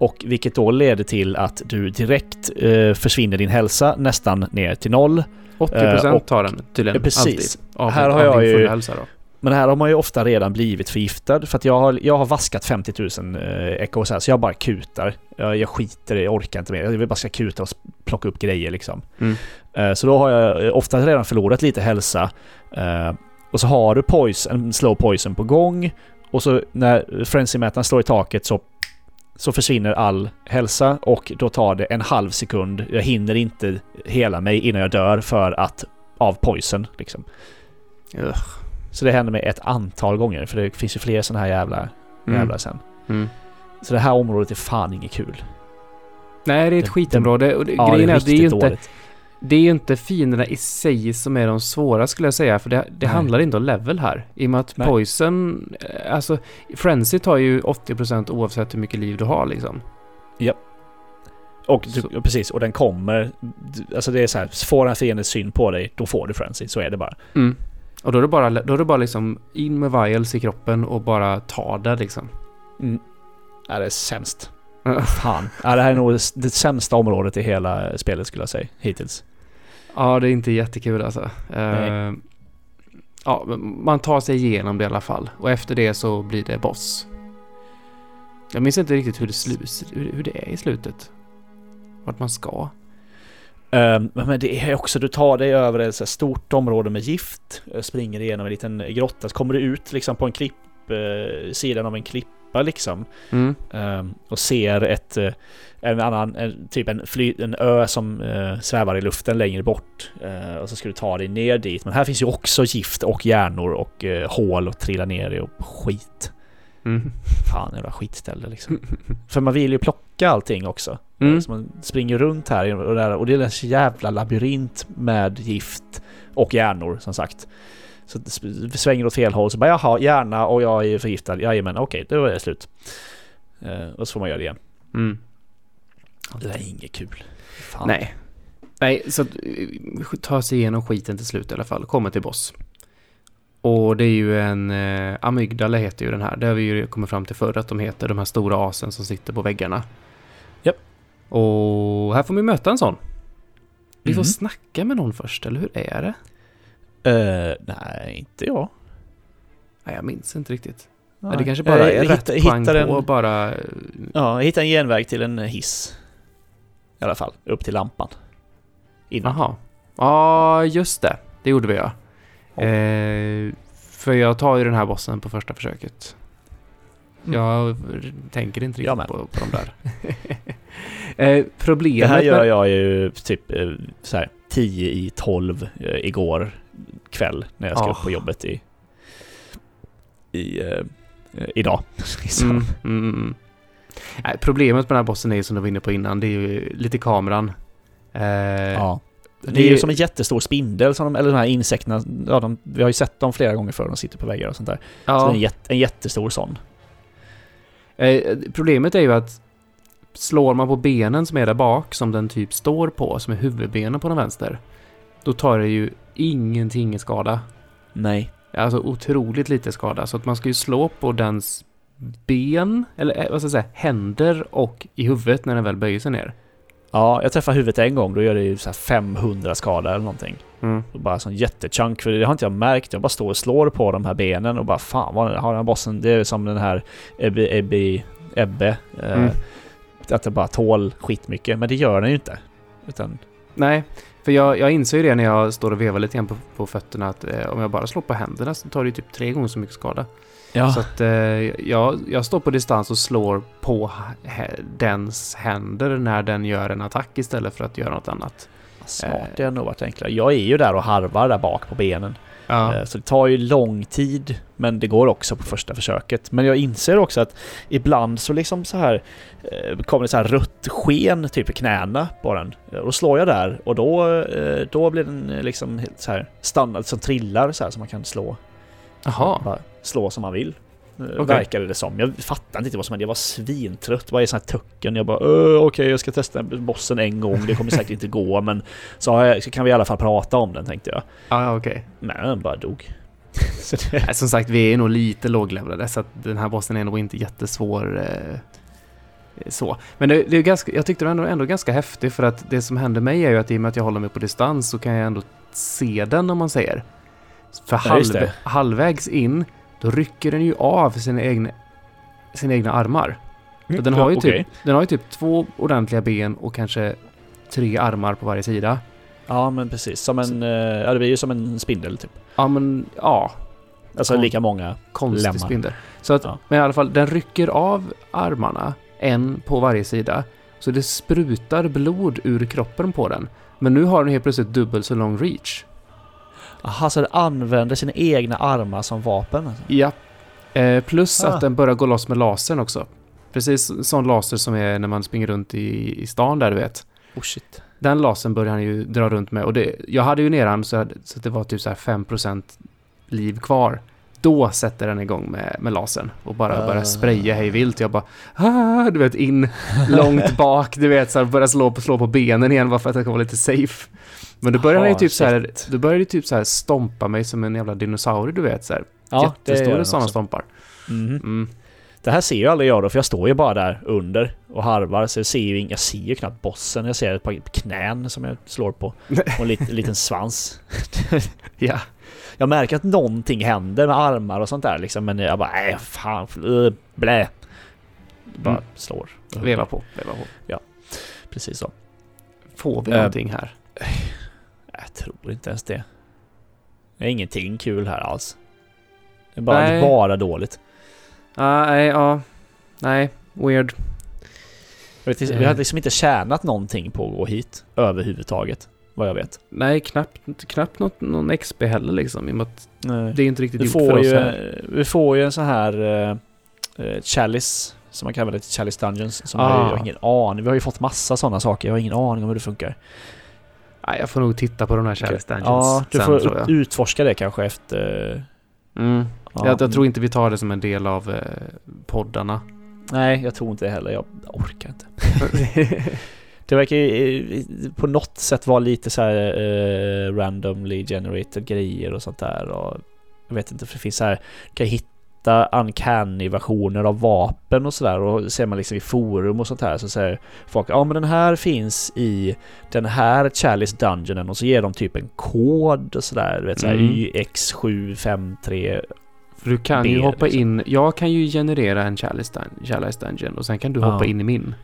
Speaker 1: Och vilket då leder till att du direkt eh, försvinner din hälsa nästan ner till noll.
Speaker 2: 80%
Speaker 1: Eh, och-
Speaker 2: tar den tydligen.
Speaker 1: Eh, precis.
Speaker 2: Alltid. Av,
Speaker 1: Här har
Speaker 2: av
Speaker 1: jag
Speaker 2: din
Speaker 1: ju-
Speaker 2: fulla hälsa då.
Speaker 1: Men här har man ju ofta redan blivit förgiftad för att jag har, jag har vaskat 50 000 eh, ekos här så jag bara kutar. Jag, jag skiter i jag orkar inte mer. Jag vill bara ska kuta och s- plocka upp grejer liksom.
Speaker 2: Mm.
Speaker 1: Eh, så då har jag eh, ofta redan förlorat lite hälsa. Eh, och så har du poison, en slow poison på gång och så när frenzymätaren slår i taket så så försvinner all hälsa och då tar det en halv sekund. Jag hinner inte hela mig innan jag dör för att av poison liksom.
Speaker 2: Ugh.
Speaker 1: Så det händer mig ett antal gånger, för det finns ju fler sådana här jävla, jävlar sen.
Speaker 2: Mm.
Speaker 1: Så det här området är fan inget kul.
Speaker 2: Nej, det är ett
Speaker 1: Det-
Speaker 2: skitområde. Och det,
Speaker 1: Ja,
Speaker 2: grejen
Speaker 1: det
Speaker 2: är
Speaker 1: är
Speaker 2: att det är ju
Speaker 1: riktigt
Speaker 2: inte,
Speaker 1: dåligt.
Speaker 2: det är ju inte fienderna i sig som är de svåra skulle jag säga. För det, det
Speaker 1: Nej.
Speaker 2: handlar inte om level här. I och med att
Speaker 1: Nej.
Speaker 2: poison, eh, alltså frenzy tar ju 80% oavsett hur mycket liv du har liksom.
Speaker 1: Och du,
Speaker 2: Så-
Speaker 1: ja, precis, och den kommer... du- Alltså det är så här, får en fiende syn på dig, då får du frenzy. Så är det bara.
Speaker 2: Och då är det bara, då är det bara liksom in med vials i kroppen och bara ta det liksom.
Speaker 1: Ja, det är sämst.
Speaker 2: Ja.
Speaker 1: Fan. Ja, det här är nog det- det sämsta området i hela spelet skulle jag säga, hittills.
Speaker 2: Ja, det är inte jättekul alltså.
Speaker 1: Nej.
Speaker 2: Eh, ja, men man tar sig igenom det i alla fall. Och efter det så blir det boss. Jag minns inte riktigt hur det, slus, hur, hur det är i slutet. Vart man ska.
Speaker 1: Ehm, men det är också, du tar dig över ett så här stort område med gift, eh, springer igenom en liten grotta, så kommer du ut liksom på en klipp, eh, sidan av en klippa liksom.
Speaker 2: Mm.
Speaker 1: Ehm, och ser ett, eh, en annan, en, typ en, fly, en ö som eh, svävar i luften längre bort. Eh, och så ska du ta dig ner dit. Men här finns ju också gift och hjärnor och eh, hål och trilla ner i och skit.
Speaker 2: Mm.
Speaker 1: Fan jävla skitställe liksom. För man vill ju plocka allting också.
Speaker 2: Mm.
Speaker 1: Så man springer runt här och där och det är en så jävla labyrint med gift och hjärnor som sagt. Så det sp- svänger åt fel håll så bara jaha, hjärna och jag är förgiftad. Jajamän, okej, då är det slut. Eh, och så får man göra det igen.
Speaker 2: Mm.
Speaker 1: Det där är inget kul. Fan.
Speaker 2: Nej. Nej, så att, eh, ta sig igenom skiten till slut i alla fall. Kommer till boss. Och det är ju en... Eh, amygdala heter ju den här. Det har vi ju kommit fram till förr att de heter. De här stora asen som sitter på väggarna.
Speaker 1: Japp.
Speaker 2: Och här får vi möta en sån. Vi får
Speaker 1: Mhm.
Speaker 2: snacka med någon först, eller hur är det?
Speaker 1: Eh, nej, inte jag.
Speaker 2: Nej, jag minns inte riktigt.
Speaker 1: Nej.
Speaker 2: Nej, det kanske bara
Speaker 1: Eh,
Speaker 2: är rätt
Speaker 1: hitta-
Speaker 2: pang
Speaker 1: hittar
Speaker 2: på
Speaker 1: en,
Speaker 2: bara... eh,
Speaker 1: Ja, jag hittar en genväg till en hiss. I alla fall, upp till lampan. Innan.
Speaker 2: Jaha. Ja, just det. Det gjorde vi ja.
Speaker 1: Ja.
Speaker 2: Eh, för jag tar ju den här bossen på första försöket.
Speaker 1: Mm.
Speaker 2: Jag r- tänker inte
Speaker 1: Jag
Speaker 2: riktigt
Speaker 1: med.
Speaker 2: på, på de där. eh, problemet
Speaker 1: Det här gör
Speaker 2: med...
Speaker 1: jag ju typ eh, så här 10 i 12 eh, igår kväll när jag ska
Speaker 2: Ah.
Speaker 1: upp på jobbet i... i eh, eh, idag. Så,
Speaker 2: Mm, mm, mm. Nej, problemet med den här bossen är ju som du var inne på innan, det är ju lite kameran. Eh,
Speaker 1: ja. Det,
Speaker 2: det-
Speaker 1: är ju som en jättestor spindel, som de, eller de här insekterna. Ja, de, vi har ju sett dem flera gånger förr, de sitter på väggar och sånt där. Så det är en, jätt, en jättestor sån.
Speaker 2: Eh, problemet är ju att slår man på benen som är där bak, som den typ står på, som är huvudbenen på den vänster, då tar det ju ingenting i skada.
Speaker 1: Nej.
Speaker 2: Alltså otroligt lite skada. Så att man ska ju slå på dens ben, eller eh, vad ska jag säga, händer och i huvudet när den väl böjer sig ner.
Speaker 1: Ja, jag träffade huvudet en gång, då gör det ju så här 500 skada eller någonting. Och bara sån jättechunk, för det har inte jag märkt. Jag bara står och slår på de här benen och bara fan vad har den här bossen... Det är som den här Ebbe... Ebbe... Ebbe eh,
Speaker 2: Mm.
Speaker 1: Att det bara tål skitmycket, men det gör den ju inte. Utan...
Speaker 2: Nej, för jag, jag inser ju det när jag står och vevar lite grann på, på fötterna att eh, om jag bara slår på händerna så tar det ju typ tre gånger så mycket skada.
Speaker 1: Ja.
Speaker 2: Så att eh, jag, jag står på distans och slår på h- he- dens händer när den gör en attack istället för att göra något annat.
Speaker 1: Smart, det har nog varit enklare. eh, Jag är ju där och harvar där bak på benen. Eh, Så det tar ju lång tid, men det går också på första försöket. Men jag inser också att ibland så liksom så här eh, kommer det så här rött sken typ i knäna på den. Eh, Och då slår jag där och då, eh, då blir den eh, liksom helt så här stannad som trillar så här som man kan slå.
Speaker 2: Jaha.
Speaker 1: Bara slå som man vill. Okay.
Speaker 2: Okej.
Speaker 1: Verkade det som. Jag fattade inte vad som hände. Jag var svintrött. Vad är sån här tucken? Jag bara "Öh, okej, jag ska testa bossen en gång. Det kommer säkert inte gå, men så, har jag, så kan vi i alla fall prata om den tänkte jag.
Speaker 2: Ja, ja, Ah, okej.
Speaker 1: Men den bara dog. så det,
Speaker 2: Nej, Som sagt, vi är nog lite låglevlade så att den här bossen är nog inte jättesvår. Eh, så. Men det, det är ganska, jag tyckte den var ändå ganska häftig för att det som händer mig är ju att i och med att jag håller mig på distans så kan jag ändå se den om man säger. För
Speaker 1: Ja, just
Speaker 2: halv,
Speaker 1: det.
Speaker 2: halvvägs in, då rycker den ju av sina egna, sina egna armar. Så den, har ju
Speaker 1: Okej.
Speaker 2: typ, den har ju typ två ordentliga ben och kanske tre armar på varje sida.
Speaker 1: Ja men precis, som en, eh, ja det blir ju som en spindel typ.
Speaker 2: Ja, men ja,
Speaker 1: Alltså
Speaker 2: Kon-
Speaker 1: lika många.
Speaker 2: konstig
Speaker 1: Lemmar.
Speaker 2: spindel. Så att,
Speaker 1: Ja.
Speaker 2: men i alla fall, den rycker av armarna, en på varje sida. Så det sprutar blod ur kroppen på den. Men nu har den helt plötsligt dubbelt så lång reach.
Speaker 1: Aha, så den använder sina egna armar som vapen? Alltså.
Speaker 2: Ja. Eh, plus
Speaker 1: Ah.
Speaker 2: att den börjar gå loss med lasern också. Precis sån laser som är när man springer runt i, i stan där du vet.
Speaker 1: Oh shit.
Speaker 2: Den lasern börjar han ju dra runt med och det, jag hade ju ner han så, jag hade- så att det var typ så här 5% liv kvar. Då sätter den igång med, med lasern och bara
Speaker 1: Ah.
Speaker 2: börjar spraya hej vilt. Jag bara, ah, du vet in långt bak, du vet så här, börjar slå på, slå på benen igen bara för att jag ska vara lite safe. Men då börjar han ju
Speaker 1: Ah,
Speaker 2: typ så här,
Speaker 1: shit.
Speaker 2: då börjar det typ så här stompa mig som en jävla dinosaurie, du vet så här.
Speaker 1: det gör den
Speaker 2: Jättestora sådana
Speaker 1: också.
Speaker 2: stompar.
Speaker 1: Mhm.
Speaker 2: Mm.
Speaker 1: Det här ser ju aldrig jag då, för jag står ju bara där under och harvar, så jag ser ju, ing- jag ser ju knappt bossen. Jag ser ett par knän som jag slår på. Och en lit, liten svans.
Speaker 2: Ja.
Speaker 1: Jag märker att "Äh, någonting händer med armar och sånt där liksom, men jag bara nej, fan, f- ö, blä. bara
Speaker 2: Mm.
Speaker 1: slår.
Speaker 2: Veva på, veva på.
Speaker 1: Precis så.
Speaker 2: Får vi
Speaker 1: Eh,
Speaker 2: någonting här?
Speaker 1: Jag tror inte ens det. Det är ingenting kul här alls. Det är bara,
Speaker 2: Nej.
Speaker 1: bara dåligt.
Speaker 2: Ah, nej, ja. Nej, weird.
Speaker 1: Jag vet, inte-
Speaker 2: Eh.
Speaker 1: vi har liksom inte tjänat någonting på att gå hit överhuvudtaget. Vad jag vet.
Speaker 2: Nej, knappt, knappt något, någon XP heller liksom. I och med att det är inte riktigt
Speaker 1: Vi
Speaker 2: gjort för
Speaker 1: får,
Speaker 2: oss
Speaker 1: ju,
Speaker 2: här.
Speaker 1: vi får ju en sån här eh, eh, chalice, som man kallar det, Chalice Dungeons. Som jag,
Speaker 2: Ah.
Speaker 1: jag har ingen aning. Vi har ju fått massa sådana saker. Jag har ingen aning om hur det funkar.
Speaker 2: Nej, jag får nog titta på de här Chalice Dungeons
Speaker 1: Ja, du
Speaker 2: sen
Speaker 1: får
Speaker 2: tror jag.
Speaker 1: utforska det kanske efter...
Speaker 2: Mm.
Speaker 1: ja.
Speaker 2: jag, jag tror inte vi tar det som en del av eh, poddarna.
Speaker 1: Nej, jag tror inte det heller. Jag orkar inte. Det verkar ju eh, på något sätt vara lite så här eh, randomly generated grejer och sånt där. Och jag vet inte, för det finns så här, du kan hitta uncanny-versioner av vapen och sådär. Och ser man liksom i forum och sånt här så säger folk ja men den här finns i den här Chalice Dungeonen och så ger de typ en kod och sådär. Du vet såhär
Speaker 2: Mm.
Speaker 1: YX753.
Speaker 2: För du kan ju
Speaker 1: Det,
Speaker 2: hoppa
Speaker 1: liksom.
Speaker 2: in. Jag kan ju generera en Chalice, dun- Chalice Dungeon och sen kan du
Speaker 1: Ja.
Speaker 2: hoppa in i min.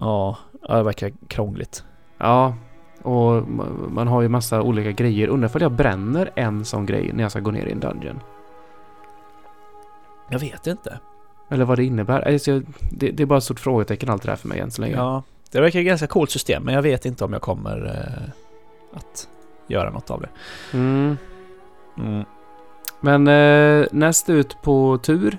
Speaker 1: Ja, ja, det verkar krångligt.
Speaker 2: Ja, och ma- man har ju massa olika grejer. Undrar ifall jag bränner en sån grej när jag ska gå ner i en dungeon.
Speaker 1: Jag vet inte.
Speaker 2: Eller vad det innebär. Alltså, jag- det, det är bara ett stort frågetecken allt det där för mig än så länge.
Speaker 1: Ja, det verkar ju ganska coolt system men jag vet inte om jag kommer eh, att göra något av det.
Speaker 2: Mm.
Speaker 1: Mm.
Speaker 2: Men eh, näst ut på tur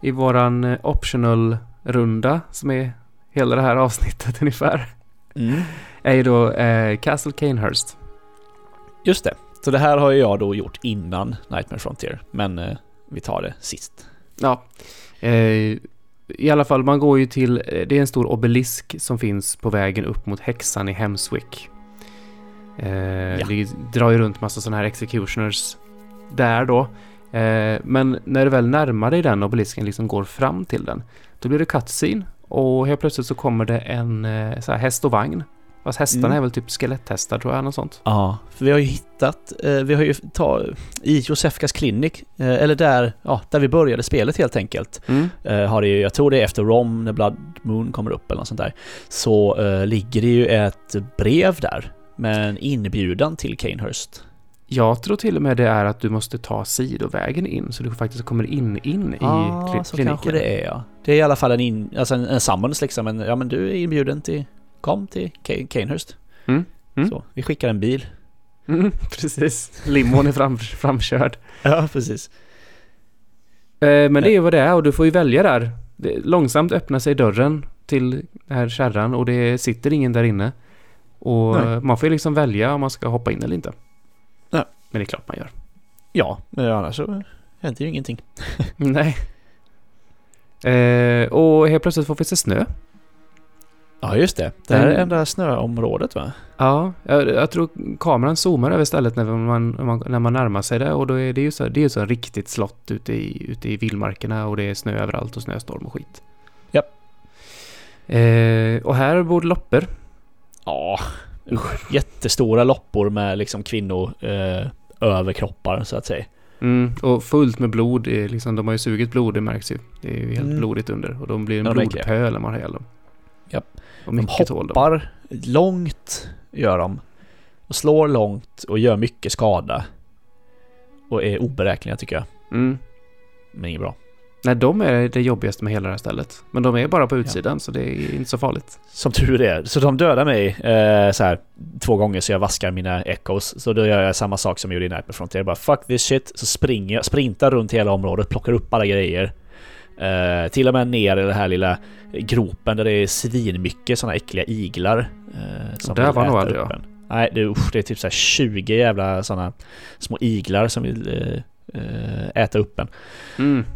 Speaker 2: i våran eh, optional-runda som är hela det här avsnittet ungefär.
Speaker 1: Mm.
Speaker 2: Är ju då eh, Castle Canehurst.
Speaker 1: Just det, så det här har ju jag då gjort innan Nightmare Frontier men eh, vi tar det sist.
Speaker 2: Ja. Eh, I alla fall, man går ju till, eh, det är en stor obelisk som finns på vägen upp mot häxan i Hemswick. Eh, Det drar ju runt massa sådana här executioners där då. Eh, men när du väl närmar dig den obelisken, liksom går fram till den, då blir det cutscene och helt plötsligt så kommer det en eh, så här häst och vagn. Fast hästarna
Speaker 1: Mm.
Speaker 2: är väl typ skeletthästar tror jag, något sånt.
Speaker 1: Ja, för vi har ju hittat, eh, vi har ju ta, i Josefkas klinik, eh, eller där, ja, där vi började spelet helt enkelt, eh, har det ju, jag tror det är efter Rom när Blood Moon kommer upp eller något sånt där, så eh, ligger det ju ett brev där med en inbjudan till Kanehurst.
Speaker 2: Jag tror till och med det är att du måste ta sidovägen in så du faktiskt kommer in, in i kli-
Speaker 1: Ah, så
Speaker 2: kliniken.
Speaker 1: kanske det är ja. Det är i alla fall en, in, alltså en, en summons liksom. En, ja men du är inbjuden till, kom till Ka- Kanehurst.
Speaker 2: Mm, mm.
Speaker 1: Så, vi skickar en bil.
Speaker 2: Mm, precis. Limon är fram, framkörd.
Speaker 1: Ja, precis.
Speaker 2: Eh, men det är ju vad det är och du får ju välja där. Det, långsamt öppnar sig dörren till den här kärran och det sitter ingen där inne. Och
Speaker 1: Nej.
Speaker 2: eh, man får ju liksom välja om man ska hoppa in eller inte.
Speaker 1: Ja.
Speaker 2: Men det är klart man gör.
Speaker 1: Ja, men annars så händer ju ingenting.
Speaker 2: Nej. Eh, och helt plötsligt får vi se snö.
Speaker 1: Ja, just det. Det här är
Speaker 2: Den-
Speaker 1: enda snöområdet va?
Speaker 2: Ja, jag, jag tror kameran zoomar över stället när man, när man, när man närmar sig det och då är det ju så, det är ju så riktigt slott ute i, ute i vildmarkerna och det är snö överallt och snöstorm och skit.
Speaker 1: Ja.
Speaker 2: Eh, och här bor loppor.
Speaker 1: Ja. Jättestora loppor med liksom kvinnor eh, överkroppar så att säga.
Speaker 2: Mm, och fullt med blod, det är liksom, de har ju sugit blod, det märks ju. Det är ju helt
Speaker 1: Mm.
Speaker 2: blodigt under och de blir en
Speaker 1: Ja, det märker jag.
Speaker 2: blodpöl när man har ihjäl dem.
Speaker 1: Japp.
Speaker 2: Och
Speaker 1: De
Speaker 2: mycket tål de.
Speaker 1: hoppar långt, gör de. Och slår långt och gör mycket skada. Och är oberäkneliga tycker jag.
Speaker 2: Mm.
Speaker 1: Men inget bra.
Speaker 2: Nej, de är det jobbigaste med hela det här stället. Men de är bara på utsidan så det är inte så farligt.
Speaker 1: Som tur är. Så de dödar mig eh, så här två gånger så jag vaskar mina echos. Så då gör jag samma sak som jag gjorde i Nightmare Frontier. Bara fuck this shit. Så springer jag, sprintar runt hela området, plockar upp alla grejer. Eh, till och med ner i den här lilla gropen där det är svinmycket sådana äckliga iglar. Eh,
Speaker 2: Och där
Speaker 1: vill
Speaker 2: var nog
Speaker 1: äta
Speaker 2: aldrig
Speaker 1: upp
Speaker 2: jag.
Speaker 1: en. Nej, det, är- usch, det är typ så här 20 jävla sådana små iglar som vill eh, eh, äta upp en.
Speaker 2: Mm.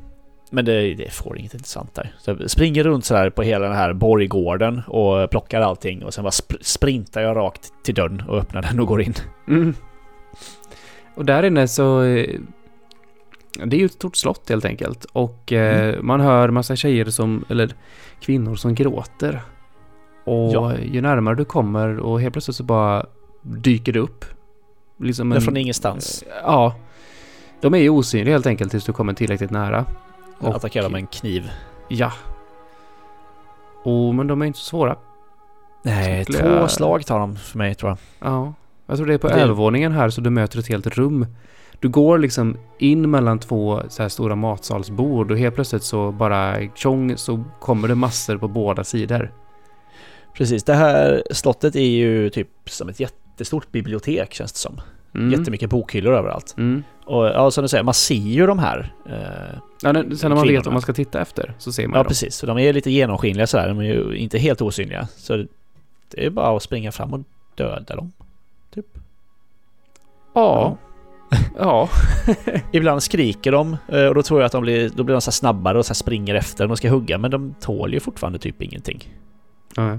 Speaker 1: Men det, det får inget intressant där. Så jag springer runt så här på hela den här borggården och plockar allting och sen bara sp- sprintar jag rakt till dörren och öppnar den och går in.
Speaker 2: Mm. Och där inne så... eh, Det är ju ett stort slott helt enkelt. Och eh,
Speaker 1: Mm.
Speaker 2: man hör massa tjejer som, eller kvinnor som gråter. Och
Speaker 1: Ja.
Speaker 2: ju närmare du kommer och helt plötsligt så bara dyker det upp. Liksom en,
Speaker 1: Från ingenstans.
Speaker 2: Ja. De är ju osynliga helt enkelt tills du kommer tillräckligt nära.
Speaker 1: Attackerar med en kniv.
Speaker 2: Ja. Oh, men de är inte så svåra.
Speaker 1: Nej,
Speaker 2: Skulle
Speaker 1: två
Speaker 2: jag-
Speaker 1: slag tar de för mig tror jag.
Speaker 2: Ja. Jag tror det är på
Speaker 1: Det-
Speaker 2: övervåningen här så du möter ett helt rum. Du går liksom in mellan två så här stora matsalsbord och helt plötsligt så bara tjong så kommer det massor på båda sidor.
Speaker 1: Precis, det här slottet är ju typ som ett jättestort bibliotek känns det som.
Speaker 2: Mm.
Speaker 1: Jättemycket bokhyllor överallt.
Speaker 2: Mm.
Speaker 1: Och ja, som du säger, man ser ju de här. Eh,
Speaker 2: Ja, nej, sen när man
Speaker 1: Kvinnorna.
Speaker 2: vet vad man ska titta efter så ser man
Speaker 1: ja,
Speaker 2: dem.
Speaker 1: precis. Så de är lite genomskinliga sådär, de är ju inte helt osynliga. Så det är bara att springa fram och döda dem. typ.
Speaker 2: Ja. Ja.
Speaker 1: Ibland skriker de eh, och då tror jag att de blir, då blir de så här snabbare och så här springer efter när de ska hugga. Men de tål ju fortfarande typ ingenting.
Speaker 2: ja.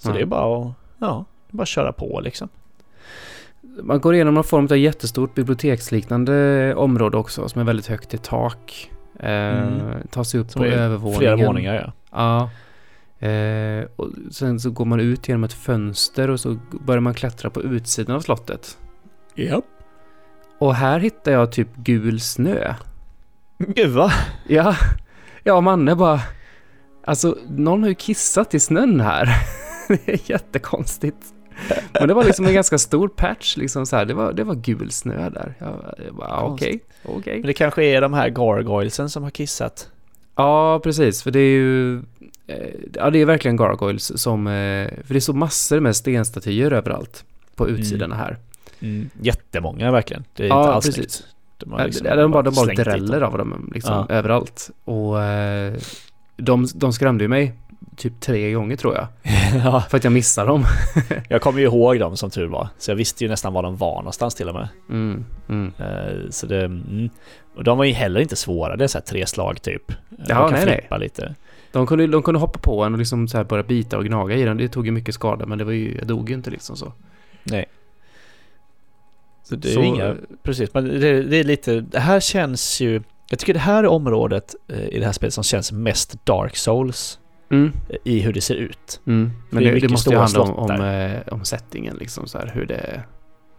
Speaker 1: Så
Speaker 2: Ja.
Speaker 1: det är bara att, ja, det är bara att köra på liksom.
Speaker 2: Man går igenom någon form av jättestort biblioteksliknande område också som är väldigt högt i tak. Eh,
Speaker 1: Mm.
Speaker 2: Tar sig upp
Speaker 1: Som
Speaker 2: på
Speaker 1: är
Speaker 2: övervåningen.
Speaker 1: Flera våningar ja.
Speaker 2: Ja. Eh, och sen så går man ut genom ett fönster och så börjar man klättra på utsidan av slottet.
Speaker 1: Japp.
Speaker 2: Och här hittar jag typ gul snö.
Speaker 1: Gud va?
Speaker 2: Ja, ja manne bara... Alltså, någon har ju kissat i snön här. det är jättekonstigt. Men det var liksom en ganska stor patch, liksom så här. Det var, det var gul snö där. Jag, jag bara, ah, okej, okej.
Speaker 1: Men det kanske är de här gargoylesen som har kissat.
Speaker 2: Ja, precis. För det är ju... eh, Ja, det är verkligen gargoyles som... eh, För det står massor med stenstatyer överallt på utsidorna här.
Speaker 1: Jättemånga verkligen. Mm. Det är
Speaker 2: Mm. Ja,
Speaker 1: inte alls
Speaker 2: precis.
Speaker 1: snyggt. De liksom
Speaker 2: Ja, det- de bara, de bara
Speaker 1: slängt dit dem.
Speaker 2: dräller av dem liksom,
Speaker 1: Ja.
Speaker 2: överallt. Och eh, de, de skrämde ju mig typ tre gånger tror jag.
Speaker 1: ja,
Speaker 2: För att jag missade dem.
Speaker 1: jag kommer ju ihåg dem som tur var. Så jag visste ju nästan var de var någonstans till och med.
Speaker 2: Mm, mm.
Speaker 1: Eh, Så det, mm. Och de var ju heller inte svåra. Det är så här tre slag typ. Eh, de
Speaker 2: Ja,
Speaker 1: kan
Speaker 2: nej, nej.
Speaker 1: flippa lite.
Speaker 2: De, kunde, de kunde hoppa på en och liksom så här börja bita och gnaga i den. Det tog ju mycket skada men det var ju, jag dog ju inte liksom så.
Speaker 1: Nej. Så det är
Speaker 2: Så- eh,
Speaker 1: ju inga... Precis, men det, det är lite... Det här känns ju... Jag tycker det här är området eh, i det här spelet som känns mest Dark Souls
Speaker 2: Mm,
Speaker 1: eh, i hur det ser ut.
Speaker 2: mm. Men
Speaker 1: är
Speaker 2: det, det,
Speaker 1: mycket
Speaker 2: måste ju handla
Speaker 1: stora
Speaker 2: om, om,
Speaker 1: slott
Speaker 2: eh, om settingen liksom så här hur det...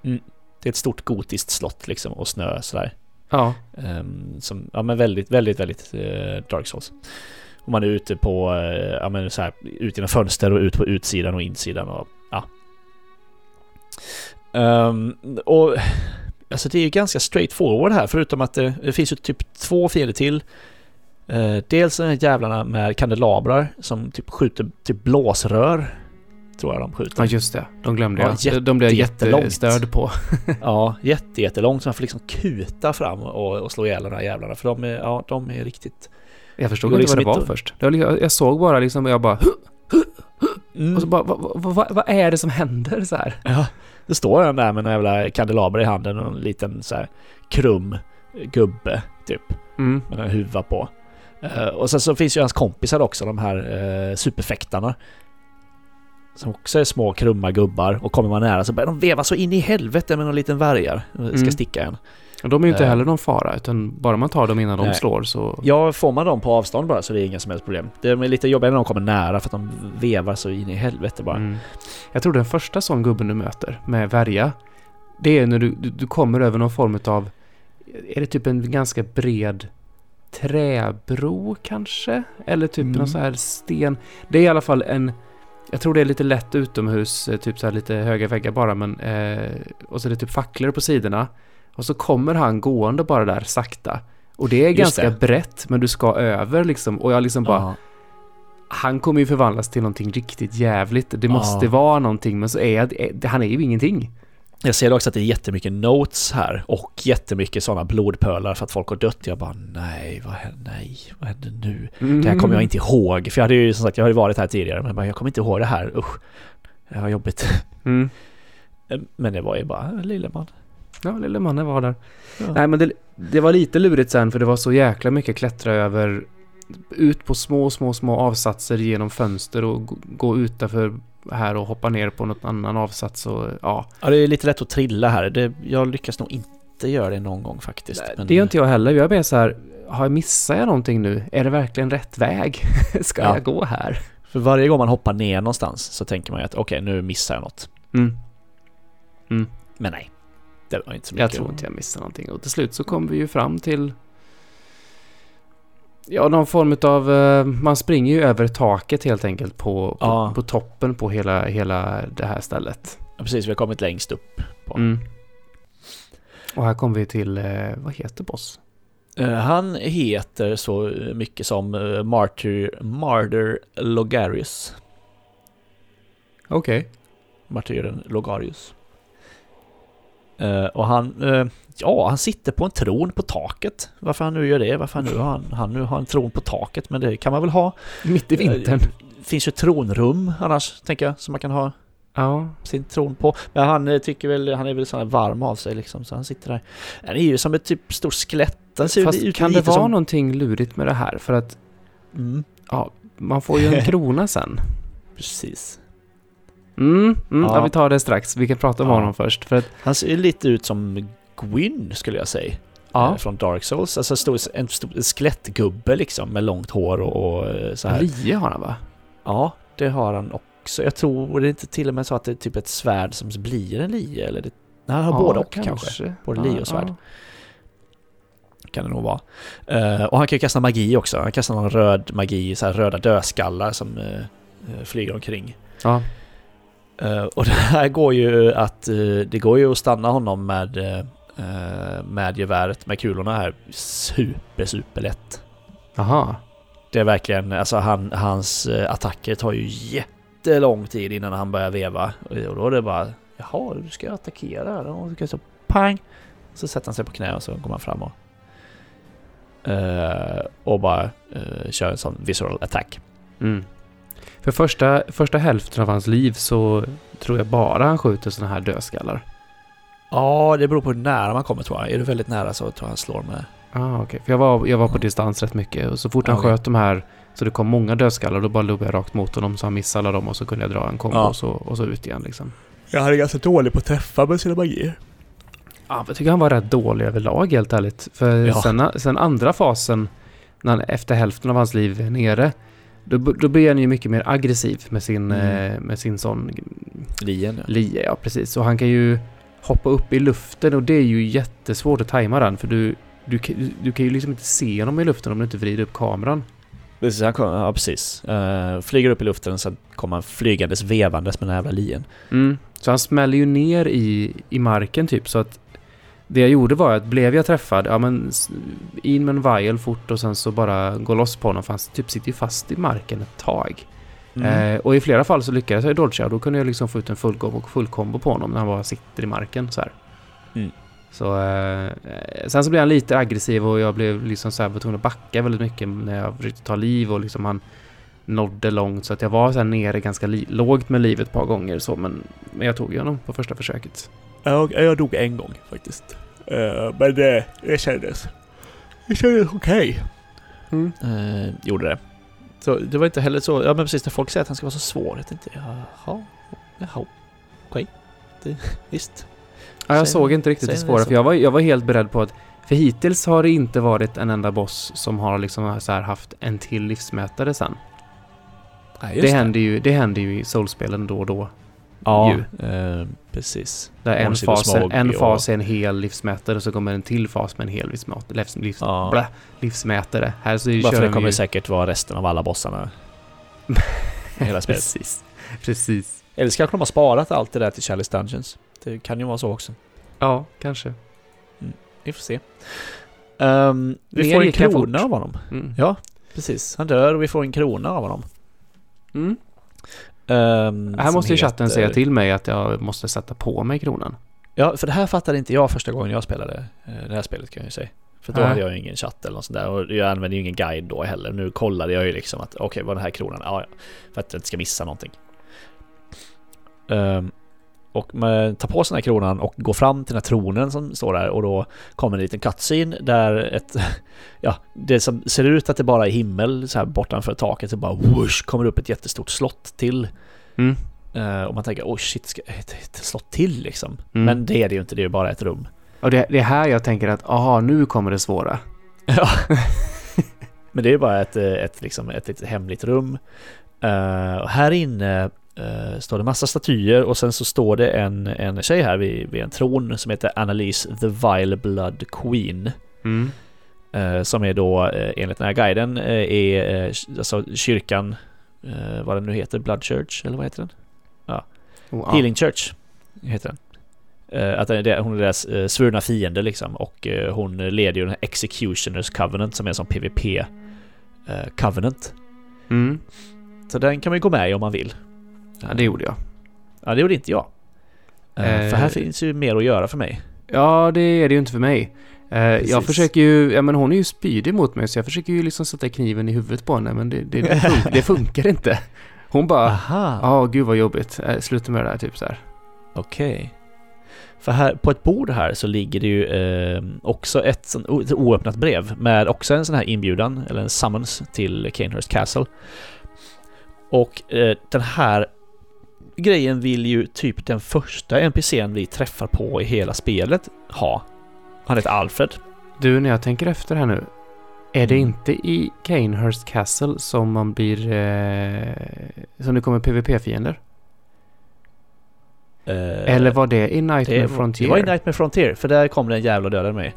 Speaker 1: Det är ett stort gotiskt slott liksom och snö sådär.
Speaker 2: Ja.
Speaker 1: Ehm, som, ja men väldigt, väldigt, väldigt eh, Dark Souls. Och man är ute på, eh, ja men så här, ut genom fönster och ut på utsidan och insidan och ja. Ehm, och alltså det är ju ganska straightforward här förutom att det, det finns ju typ två fiender till. Eh, dels de här jävlarna med kandelabrar som typ skjuter typ blåsrör. Tror jag de skjuter.
Speaker 2: Ja just det, de glömde
Speaker 1: Ja,
Speaker 2: jag. De- de blev jag
Speaker 1: jätte- jättelångt.
Speaker 2: jättestörd på.
Speaker 1: Ja, jätte, jättelångt så man får liksom kuta fram och, och slå ihjäl de här jävlarna för de är, ja, de är riktigt...
Speaker 2: Jag förstod
Speaker 1: Det går
Speaker 2: inte vad det
Speaker 1: liksom
Speaker 2: var
Speaker 1: inte-
Speaker 2: först. Det var liksom, jag såg bara liksom, och jag bara,
Speaker 1: mm.
Speaker 2: och så bara, vad, vad, vad, vad är det som händer så här?
Speaker 1: Ja, det står den där med en jävla kandelaber i handen och en liten så här krum gubbe typ
Speaker 2: Mm.
Speaker 1: med en huva på. Eh, och sen så finns ju hans kompisar också, de här eh, superfäktarna. Som också är små krumma gubbar och kommer man nära så börjar de veva så in i helvete med någon liten värjar. Ska
Speaker 2: Mm.
Speaker 1: sticka en.
Speaker 2: Och de är ju inte
Speaker 1: Eh.
Speaker 2: heller någon fara, utan bara man tar dem innan de
Speaker 1: Nej.
Speaker 2: slår så...
Speaker 1: Ja, får man dem på avstånd bara så det är inga som helst problem. Det är lite jobbigare när de kommer nära för att de vevar så in i helvete bara.
Speaker 2: Mm. Jag tror den första sån gubben du möter med värja, det är när du, du, du kommer över någon form av, är det typ en ganska bred träbro kanske? Eller typ
Speaker 1: Mm.
Speaker 2: någon så här sten. Det är i alla fall en, jag tror det är lite lätt utomhus, eh, typ så här lite höga väggar bara, men eh, och så är det typ facklor på sidorna. Och så kommer han gående bara där sakta. Och det är
Speaker 1: Just
Speaker 2: ganska
Speaker 1: det.
Speaker 2: brett, men du ska över liksom. Och jag liksom bara,
Speaker 1: Ja.
Speaker 2: han kommer ju förvandlas till någonting riktigt jävligt. Det måste
Speaker 1: Ja.
Speaker 2: vara någonting, men så är det, han är ju ingenting.
Speaker 1: Jag ser också att det är jättemycket notes här och jättemycket sådana blodpölar för att folk har dött. Jag bara nej, vad händer, nej, vad händer nu? Det här kommer jag inte ihåg. För jag hade ju som sagt, jag hade varit här tidigare men jag bara, jag kommer inte ihåg det här, usch. Det var jobbigt.
Speaker 2: Mm.
Speaker 1: Men det var ju bara, "Ah, lille man.
Speaker 2: Ja, lille mannen var där.
Speaker 1: Ja.
Speaker 2: Nej, men det, det var lite lurigt sen, för det var så jäkla mycket klättra över, ut på små, små, små avsatser genom fönster och gå- gå utanför här och hoppa ner på någon annan avsats och ja.
Speaker 1: Ja, det är lite lätt att trilla här. Det, jag lyckas nog inte göra det någon gång faktiskt.
Speaker 2: Nej,
Speaker 1: men-
Speaker 2: Det gör inte jag heller. Jag är mer så här, har jag missat jag någonting nu? Är det verkligen rätt väg? Ska
Speaker 1: Ja.
Speaker 2: jag gå här?
Speaker 1: För varje gång man hoppar ner någonstans så tänker man ju att okej, nu missar jag något.
Speaker 2: Mm.
Speaker 1: Men nej, det var inte så mycket.
Speaker 2: Jag tror inte jag missar någonting. Och till slut så kom vi ju fram till... Ja, någon form av... Man springer ju över taket helt enkelt på, på,
Speaker 1: Ja.
Speaker 2: på toppen på hela, hela det här stället.
Speaker 1: Ja, precis, vi har kommit längst upp. Ja.
Speaker 2: Mm. Och här kommer vi till... eh, Vad heter boss?
Speaker 1: Eh, Han heter så mycket som eh, Martyr, Martyr Logarius.
Speaker 2: Okej.
Speaker 1: Martyren Logarius. Eh, och han, eh, ja han sitter på en tron på taket. Varför han nu gör det, varför han nu har, han, han nu har en tron på taket, men det kan man väl ha.
Speaker 2: Mitt i vintern.
Speaker 1: Det finns ju tronrum annars, tänker jag, som man kan ha
Speaker 2: Ja.
Speaker 1: sin tron på. Men han eh, tycker väl, han är väl sån här varm av sig liksom, så han sitter där. Han är ju som ett typ stor skelett. Han ser
Speaker 2: Fast
Speaker 1: ut
Speaker 2: kan det
Speaker 1: lite
Speaker 2: vara
Speaker 1: som-
Speaker 2: någonting lurigt med det här? För att
Speaker 1: Mm,
Speaker 2: man får ju en krona sen.
Speaker 1: precis.
Speaker 2: Mm, mm ja.
Speaker 1: Ja.
Speaker 2: vi tar det strax. Vi kan prata om
Speaker 1: Ja.
Speaker 2: honom först. För att,
Speaker 1: Han ser ju lite ut som Gwyn skulle jag säga.
Speaker 2: ja,
Speaker 1: eh, Från Dark Souls. Alltså stor, en stor skelettgubbe liksom med långt hår och, och eh, så här.
Speaker 2: lie har han va?
Speaker 1: Ja, det har han också. Jag tror det är inte till och med så att det är typ ett svärd som blir en lie eller det... Nej, han har både och kanske. Både lie och svärd. Kan det nog vara. Eh, och han kan ju kasta magi också. Han kastar någon röd magi, så här röda dödskallar som eh, eh, flyger omkring.
Speaker 2: Ja.
Speaker 1: Eh, och det här går ju att... eh, det går ju att stanna honom med, eh, eh, med geväret, med kulorna här. Super, superlätt.
Speaker 2: Jaha.
Speaker 1: Det är verkligen, alltså han, hans eh, attacker tar ju jättelång tid innan han börjar veva. Eh, Och då är det bara, jaha, du ska attackera här. Och så- så pang! Så sätter han sig på knä och så kommer han fram och... eh, och bara eh, kör en sån visceral attack.
Speaker 2: Mm. För första, första hälften av hans liv så tror jag bara han skjuter såna här dödskallar.
Speaker 1: Ja, det beror på hur nära man kommer tror jag. Är du väldigt nära så tror jag han slår med...
Speaker 2: Ah, okej. För jag var, jag var på distans rätt mycket och så fort han
Speaker 1: Okej.
Speaker 2: sköt de här så det kom många dödskallar då bara lobbade jag rakt mot honom så han missade alla dem och så kunde jag dra en kombo
Speaker 1: Ja.
Speaker 2: och, så, och så ut igen liksom.
Speaker 3: Jag hade ganska dålig på att träffa med sina magier.
Speaker 2: Ja, jag tycker han var rätt dålig överlag helt ärligt. För
Speaker 1: Ja.
Speaker 2: sen, sen andra fasen, när han, efter hälften av hans liv är nere, då, b- då blir han ju mycket mer aggressiv med sin,
Speaker 1: Mm.
Speaker 2: eh, med sin sån
Speaker 1: Lien ja.
Speaker 2: lie. Ja, precis. Och han kan ju hoppa upp i luften och det är ju jättesvårt att tajma den för du, du, kan- du, du kan ju liksom inte se honom i luften om du inte vrider upp kameran.
Speaker 1: Precis, han kommer, ja precis. Eh, flyger upp i luften sen kommer han flygandes vevandes med den här jävla lien.
Speaker 2: Så han smäller ju ner i, i marken typ så att det jag gjorde var att blev jag träffad, ja men s- in med en vajel fort och sen så bara gå loss på honom för han s- typ sitter ju fast i marken ett tag.
Speaker 1: Mm.
Speaker 2: Eh, och i flera fall så lyckades jag dodga och då kunde jag liksom få ut en full, go- full combo på honom när han bara sitter i marken så här.
Speaker 1: Mm.
Speaker 2: Så, eh, eh, sen så blev han lite aggressiv och jag blev liksom så här, var tvungen att backa väldigt mycket när jag försökte ta liv och liksom han nådde långt så att jag var så här nere ganska li- lågt med livet ett par gånger så men, men jag tog ju honom på första försöket.
Speaker 3: Jag, jag dog en gång faktiskt. Eh, men det, det kändes... Det kändes okej.
Speaker 1: eh, gjorde det. Så det var inte heller så, ja men precis när folk säger att han ska vara så svår, jag tänkte jaha, jaha, okej, det, visst.
Speaker 2: Ja, jag
Speaker 1: Säg-
Speaker 2: såg inte riktigt det
Speaker 1: säg det
Speaker 2: svåra
Speaker 1: så.
Speaker 2: för jag var, jag var helt beredd på att för hittills har det inte varit en enda boss som har liksom så här haft en till livsmätare sen.
Speaker 1: Ja,
Speaker 2: Det händer, ju, det händer ju i Soulspelen då och då.
Speaker 1: Ja, eh, precis.
Speaker 2: Där en
Speaker 1: Once it was
Speaker 2: fas, är,
Speaker 1: smog
Speaker 2: en
Speaker 1: och-
Speaker 2: fas är en hel livsmätare och så kommer en till fas med en hel livsmätare. Livs, livs,
Speaker 1: Ja.
Speaker 2: blä, livsmätare. Här så kör
Speaker 1: Varför det
Speaker 2: de
Speaker 1: kommer
Speaker 2: ju...
Speaker 1: säkert vara resten av alla bossarna i hela spelet.
Speaker 2: Precis. Precis.
Speaker 1: Eller så kanske de har sparat allt det där till Chalice Dungeons. Det kan ju vara så också.
Speaker 2: Ja, kanske.
Speaker 1: Vi får se. Ehm, vi
Speaker 2: Ner
Speaker 1: får en
Speaker 2: gick han fort.
Speaker 1: krona av honom.
Speaker 2: Mm.
Speaker 1: Ja, precis. Han dör och vi får en krona av honom.
Speaker 2: Mm.
Speaker 1: Ehm,
Speaker 2: Här
Speaker 1: som
Speaker 2: måste ju chatten
Speaker 1: heter-
Speaker 2: säga till mig att jag måste sätta på mig kronan.
Speaker 1: Ja, för det här fattade inte jag första gången jag spelade eh, det här spelet kan jag ju säga. För då
Speaker 2: Nej.
Speaker 1: hade jag ju ingen chatt eller något sånt där och jag använde ju ingen guide då heller. Nu kollade jag ju liksom att okej, var den här kronan? Ja, ja. För att jag inte ska missa någonting. Ehm, och man tar på sig den här kronan och går fram till den här tronen som står där och då kommer en liten cutscene där ett... Ja, det som ser ut att det bara är himmel så här bortanför taket så bara whoosh kommer det upp ett jättestort slott till.
Speaker 2: Mm.
Speaker 1: Eh, och man tänker oh shit, ska ett, ett slott till liksom?
Speaker 2: Mm.
Speaker 1: Men det är det ju inte, det är ju bara ett rum.
Speaker 2: Och det, det är här jag tänker att, aha, nu kommer det svåra.
Speaker 1: Ja. Men det är bara ett, eh, ett, liksom, ett litet hemligt rum. Eh, och här inne eh, står det massa statyer och sen så står det en, en tjej här vid, vid en tron som heter Annalise the Vile Blood Queen. Eh, som är då eh, enligt den här guiden eh, är eh, alltså kyrkan, eh, vad den nu heter, Blood Church eller vad heter den?
Speaker 2: Wow.
Speaker 1: Healing Church heter den. Eh, att det är det- hon är deras eh, svurna fiende liksom och eh, hon leder ju den här Executioners Covenant som är som PVP eh, Covenant.
Speaker 2: Mm.
Speaker 1: Så den kan man ju gå med i om man vill.
Speaker 2: Ja, det gjorde jag.
Speaker 1: Ja, det gjorde inte jag. Eh,
Speaker 2: Eh.
Speaker 1: För här finns ju mer att göra för mig.
Speaker 2: Ja, det är det ju inte för mig. Eh, jag
Speaker 4: Precis.
Speaker 2: försöker ju, ja men hon är ju spydig mot mig så jag försöker ju liksom sätta kniven i huvudet på henne men det, det, det, fun- det funkar inte. Hon bara,
Speaker 1: Aha!
Speaker 2: ja gud vad jobbigt, eh, sluta med det där typ så här.
Speaker 1: Okej. För här, på ett bord här så ligger det ju eh, också ett, sån- o- ett oöppnat brev med också en sån här inbjudan, eller en summons till Canehurst Castle. Och eh, den här grejen vill ju typ den första NPCn vi träffar på i hela spelet ha. Han heter Alfred.
Speaker 2: Du, när jag tänker efter här nu. Är det
Speaker 1: Mm.
Speaker 2: inte i Kanehurst Castle som man blir, eh, som det kommer PVP-fiender?
Speaker 1: Eh,
Speaker 2: Eller var det i Nightmare
Speaker 1: det,
Speaker 2: Frontier?
Speaker 1: det var i Nightmare Frontier, för där kom det en jävla och dödade mig.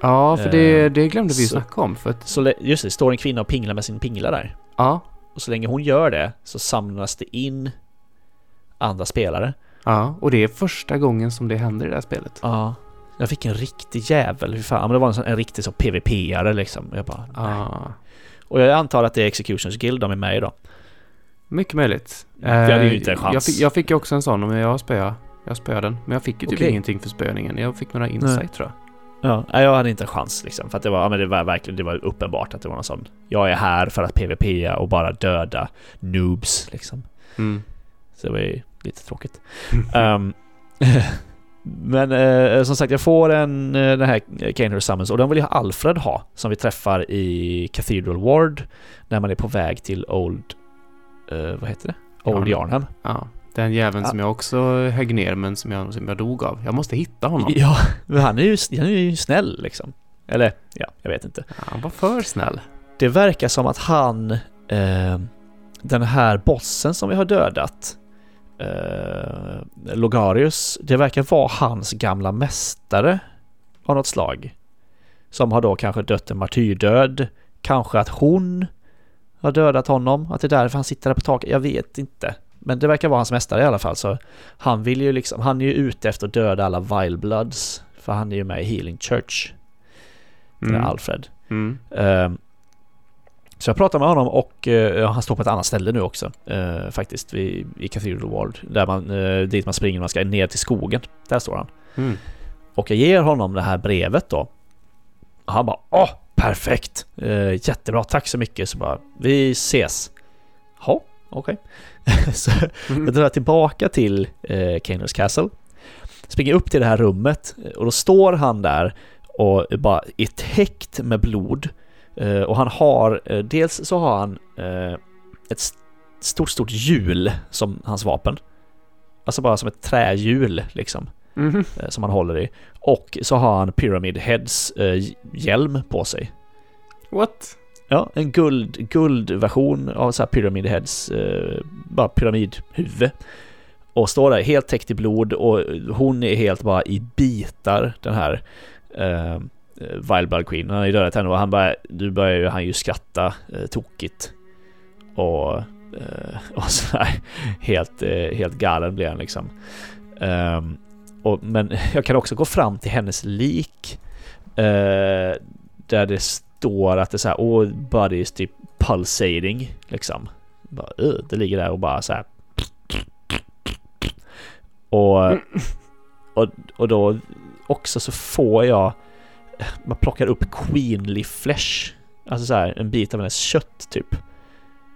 Speaker 2: Ja, för det,
Speaker 1: Eh,
Speaker 2: det glömde vi ju
Speaker 1: så-
Speaker 2: snacka om för att,
Speaker 1: Så le- just det, står en kvinna och pinglar med sin pingla där.
Speaker 2: ja,
Speaker 1: Och så länge hon gör det så samlas det in andra spelare.
Speaker 2: ja, och det är första gången som det händer i det här spelet.
Speaker 1: Ja. Jag fick en riktig jävel, hur fan, men det var en, sån, en riktig så PVP-are liksom. Jag bara, nej.
Speaker 2: Ja,
Speaker 1: Och jag antar att det är Executions Guild de är med i då.
Speaker 2: mycket möjligt.
Speaker 1: Det hade ju
Speaker 2: Eh,
Speaker 1: inte en chans.
Speaker 2: Jag fick, jag fick ju också en sån, men jag spöade. Jag spöade den, men jag fick ju typ
Speaker 1: Okej.
Speaker 2: ingenting för spöningen. Jag fick några insight
Speaker 1: Nej.
Speaker 2: tror jag.
Speaker 1: Ja, nej, jag hade inte en chans liksom, för att det var, ja, men det var verkligen, det var uppenbart att det var någon sån, jag är här för att PVP och bara döda noobs liksom.
Speaker 2: Mm.
Speaker 1: Så det var ju lite tråkigt. Ehm, men eh, som sagt, jag får en, eh, den här Canehurst Summons och den vill jag Alfred ha, som vi träffar i Cathedral Ward när man är på väg till Old... eh, vad heter det? Old
Speaker 2: Yarnham.
Speaker 1: Yarnham.
Speaker 2: ja, den jäveln
Speaker 1: Ja.
Speaker 2: som jag också högg ner, men som jag, som jag dog av. Jag måste hitta honom.
Speaker 1: Ja, men han är, ju, han är ju snäll liksom. Eller, ja, jag vet inte.
Speaker 2: Han var för snäll.
Speaker 1: Det verkar som att han, eh, den här bossen som vi har dödat, eh, Logarius, det verkar vara hans gamla mästare av något slag. Som har då kanske dött en martyrdöd. Kanske att hon har dödat honom, att det är därför han sitter där på taket. Jag vet inte. Men det verkar vara hans mästare i alla fall. Så han vill ju liksom, han är ju ute efter att döda alla Vilebloods. För han är ju med i Healing Church, den här Alfred.
Speaker 2: Mm.
Speaker 1: Ehm, Så jag pratade med honom och eh, han står på ett annat ställe nu också eh, faktiskt vid, i Cathedral Ward där man, eh, dit man springer när man ska ner till skogen. Där står han.
Speaker 2: Mm.
Speaker 1: Och jag ger honom det här brevet då. Och han bara åh perfekt! Eh, Jättebra, tack så mycket. Så bara vi ses. Ja, okej. så jag
Speaker 2: Mm.
Speaker 1: drar tillbaka till eh, Kaners Castle. Springer upp till det här rummet eh, och då står han där och bara är täckt med blod. Eh, och han har, eh, dels så har han eh, ett st- stort, stort hjul som hans vapen. Alltså bara som ett trähjul liksom,
Speaker 2: Mhm.
Speaker 1: eh, som han håller i. Och så har han Pyramid Heads eh, hjälm på sig.
Speaker 2: What?
Speaker 1: Ja, en guld, guldversion av så här Pyramid Heads, eh, bara pyramidhuvud. Och står där helt täckt i blod och hon är helt bara i bitar den här eh, Vile Blood Queen. Han har ju dödat henne och han bara, nu börjar ju han ju skratta eh, tokigt. Och, eh, och sådär helt, eh, helt galen blir han liksom. Ehm, och, men jag kan också gå fram till hennes lik. Eh, där det står att det är så här, oh, body is typ pulsating liksom. Bara, "Ugh", det ligger där och bara så här. Och, och, och då också så får jag, man plockar upp queenly flesh. Alltså så här, en bit av hennes kött typ.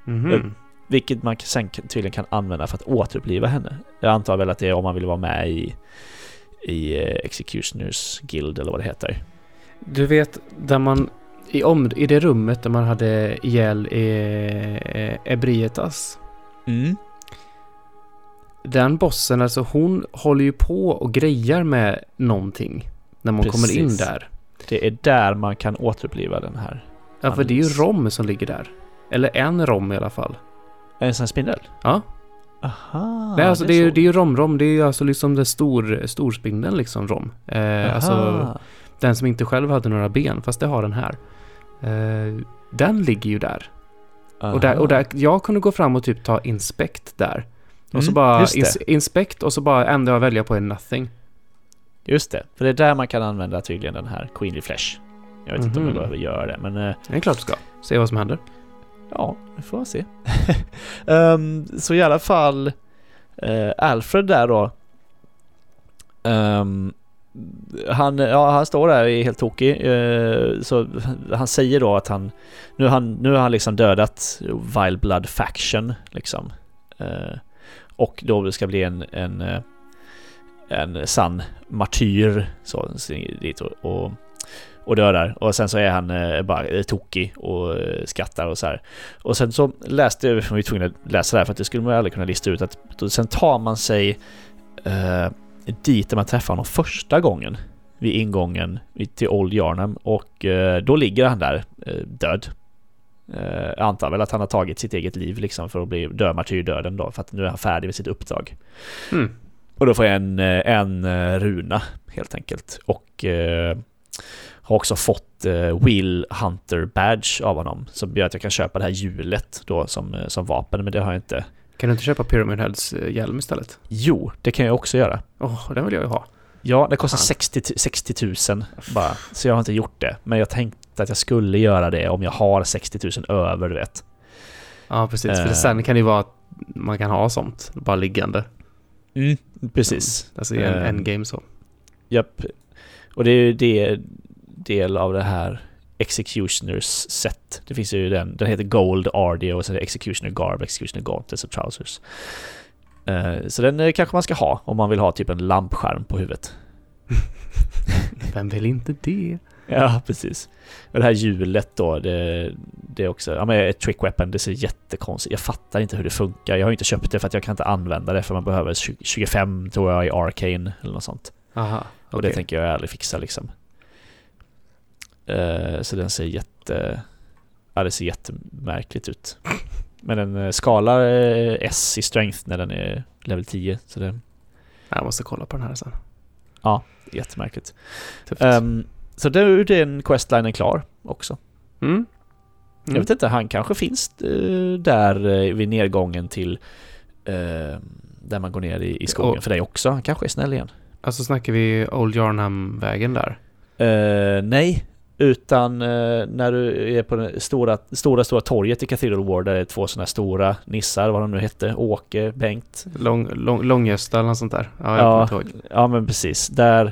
Speaker 1: Mm-hmm.
Speaker 2: Mhm.
Speaker 1: Vilket man sen kan- tydligen kan använda för att återuppliva henne. Jag antar väl att det är om man vill vara med i, i eh, Executioners Guild eller vad det heter.
Speaker 2: Du vet, där man... I, om, I det rummet där man hade ihjäl eh, Ebrietas.
Speaker 1: Mm.
Speaker 2: Den bossen, alltså hon håller ju på och grejar med någonting. När man
Speaker 1: Precis.
Speaker 2: kommer in där.
Speaker 1: Det är där man kan återuppliva den här.
Speaker 2: Ja, för det är ju
Speaker 1: Alldeles.
Speaker 2: rom som ligger där. Eller en rom i alla fall.
Speaker 1: En sån här spindel?
Speaker 2: Ja.
Speaker 1: Aha.
Speaker 2: Nej, alltså det är, ju-
Speaker 1: så.
Speaker 2: det är ju rom-rom. Det är ju alltså liksom den stor, storspindeln liksom rom. Eh, alltså
Speaker 1: Aha.
Speaker 2: Den som inte själv hade några ben, fast det har den här. Eh, den ligger ju där. Och, där, och där, jag kunde gå fram och typ ta inspect där. Och så
Speaker 1: Mm,
Speaker 2: bara
Speaker 1: just det.
Speaker 2: ins- inspect och så bara enda jag väljer på är nothing.
Speaker 1: Just det, för det är där man kan använda tydligen den här Queenly Flesh. Jag vet inte om
Speaker 2: Mhm.
Speaker 1: jag behöver göra det, men eh,
Speaker 2: Det är klart du ska. Se vad som händer.
Speaker 1: ja, vi får se. Ehm, så i alla fall, eh, Alfred där då. ehm, han, ja, han står där och är helt tokig. eh, så han säger då att han nu, har han, nu har han liksom dödat Vile Blood Faction liksom. Eh, och då det ska bli en, en, eh, en sann martyr så, han springer dit och, och, och dödar. Och sen så är han eh, bara eh, tokig och eh, skrattar och så här. Och sen så läste jag, vi var ju tvungna att läsa det här för att det skulle man ju aldrig kunna lista ut att då, sen tar man sig eh, dit där man träffar honom första gången vid ingången vid- till Old Yarnham och eh, då ligger han där eh, död. Eh, jag antar väl att han har tagit sitt eget liv liksom för att bli dö martyr döden då för att nu är han färdig med sitt uppdrag.
Speaker 2: Mm.
Speaker 1: Och då får jag en, eh, en eh, runa helt enkelt. Och eh, har också fått eh, Will Hunter Badge av honom. Som gör att jag kan köpa det här hjulet då som, eh, som vapen, men det har jag inte.
Speaker 2: Kan du inte köpa Pyramid Heads eh, hjälm istället?
Speaker 1: Jo, det kan jag också göra.
Speaker 2: Åh, den vill jag ju ha.
Speaker 1: Ja, det kostar
Speaker 2: Fan.
Speaker 1: 60, tu- 60 000 bara. Så jag har inte gjort det. Men jag tänkte att jag skulle göra det om jag har 60 000 över, du vet.
Speaker 2: Ja, precis. För
Speaker 1: Eh.
Speaker 2: det, sen kan det ju vara att man kan ha sånt bara liggande.
Speaker 1: Precis.
Speaker 2: Alltså i en
Speaker 1: Eh.
Speaker 2: endgame så.
Speaker 1: Japp. Och det är ju det del av det här Executioners set. Det finns ju den, den heter Gold RDO och sen är det Executioner Garb, Executioner Gauntlets och Trousers. Eh, så den eh, kanske man ska ha om man vill ha typ en lampskärm på huvudet.
Speaker 2: Vem vill inte det?
Speaker 1: Ja, precis. Och det här hjulet då, det, det är också, ja men ett trick weapon, det ser jättekonstigt Jag fattar inte hur det funkar. Jag har ju inte köpt det för att jag kan inte använda det för man behöver 20, 25 tror jag i Arcane eller något sånt.
Speaker 2: Aha,
Speaker 1: Och det tänker jag aldrig fixa liksom. Eh, så den ser jätte... Ja, det ser jättemärkligt ut. Men den eh, skalar eh, S i strength när den är level 10. Så det är
Speaker 2: Jag måste kolla på den här sen.
Speaker 1: jättemärkligt.
Speaker 2: Tufft.
Speaker 1: Um, så då är den questlinen klar också.
Speaker 2: mm.
Speaker 1: Jag vet inte, han kanske finns eh, där eh, vid nedgången till... eh, där man går ner i, i skogen
Speaker 2: Och-
Speaker 1: för dig också. Han kanske är snäll igen.
Speaker 2: Alltså snackar vi Old Yarnham-vägen där?
Speaker 1: Eh, nej, utan eh, när du är på det stora, stora, stora torget i Cathedral Ward där det är två sådana stora nissar, vad de nu hette, Åke, Bengt.
Speaker 2: Lång, lång, Långösta eller något sånt där? Ja, jag
Speaker 1: Ja.
Speaker 2: kommer inte ihåg.
Speaker 1: Ja men precis, där,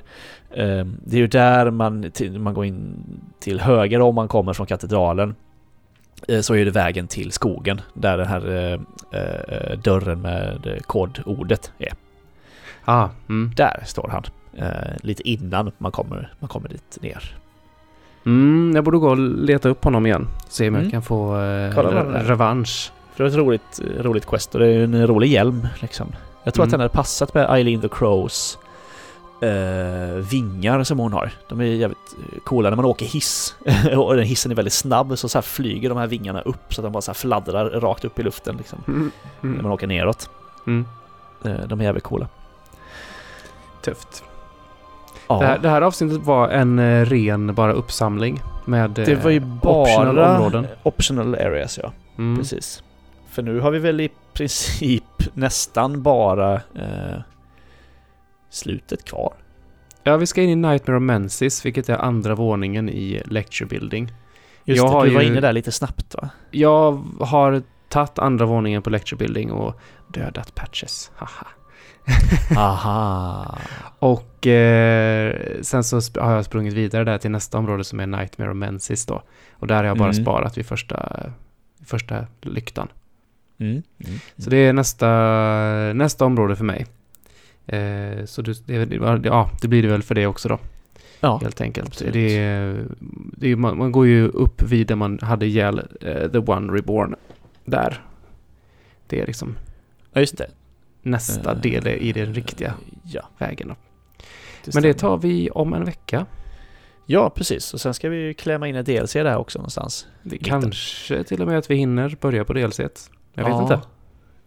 Speaker 1: eh, det är ju där man, till, man går in till höger om man kommer från katedralen. Eh, så är det vägen till skogen, där den här eh, eh, dörren med eh, kodordet är.
Speaker 2: Ah, mm.
Speaker 1: Där står han. Eh, lite innan man kommer, man kommer dit ner.
Speaker 2: Mm, jag borde gå och leta upp honom igen. Se om
Speaker 1: Mm.
Speaker 2: jag kan få eh,
Speaker 1: Kolla vad den
Speaker 2: re-
Speaker 1: är.
Speaker 2: revansch.
Speaker 1: För det var ett roligt, roligt quest och det är ju en rolig hjälm liksom. Jag tror
Speaker 2: Mm.
Speaker 1: att den hade passat med Eileen the Crows eh, vingar som hon har. De är jävligt eh, coola när man åker hiss. och den hissen är väldigt snabb så, så här flyger de här vingarna upp så att de bara så här fladdrar rakt upp i luften liksom.
Speaker 2: Mm.
Speaker 1: När
Speaker 2: Mm.
Speaker 1: man åker neråt.
Speaker 2: Mm.
Speaker 1: Eh, de är jävligt coola.
Speaker 2: Tufft.
Speaker 1: Ja.
Speaker 2: Det, här, det här avsnittet var en eh, ren bara uppsamling med eh,
Speaker 1: det var ju
Speaker 2: optional
Speaker 1: bara
Speaker 2: områden.
Speaker 1: Eh, optional areas ja.
Speaker 2: Mm.
Speaker 1: Precis. För nu har vi väl i princip nästan bara eh, slutet kvar.
Speaker 2: Ja, vi ska in i Nightmare of Mensis, vilket är andra våningen i Lecture Building.
Speaker 1: Just
Speaker 2: Jag
Speaker 1: det,
Speaker 2: har
Speaker 1: du var
Speaker 2: ju-
Speaker 1: inne där lite snabbt va?
Speaker 2: Jag har tagit andra våningen på Lecture Building och dödat Patches. Haha.
Speaker 1: Aha.
Speaker 2: Och eh, sen så sp- har jag sprungit vidare där till nästa område som är Nightmare of Mensis då. Och där har jag bara
Speaker 1: Mm.
Speaker 2: sparat vid första, första lyktan.
Speaker 1: Mm. Mm.
Speaker 2: Så det är nästa, nästa område för mig. Eh, så du, det, det- ja, det blir det väl för det också då,
Speaker 1: ja.
Speaker 2: helt enkelt.
Speaker 1: absolut.
Speaker 2: Det, är- det, är- man, man går ju upp vid där man hade ihjäl eh, The One Reborn. Där. Det är liksom
Speaker 1: ja, just det.
Speaker 2: nästa
Speaker 1: Eh,
Speaker 2: del i den riktiga
Speaker 1: Ja,
Speaker 2: vägen. Då. Men
Speaker 1: stämmer.
Speaker 2: det tar vi om en vecka.
Speaker 1: Ja, precis. Och sen ska vi ju klämma in ett DLC där också någonstans.
Speaker 2: Det
Speaker 1: Lite.
Speaker 2: kanske till och med att vi hinner börja på DLC. Jag vet
Speaker 1: ja.
Speaker 2: inte.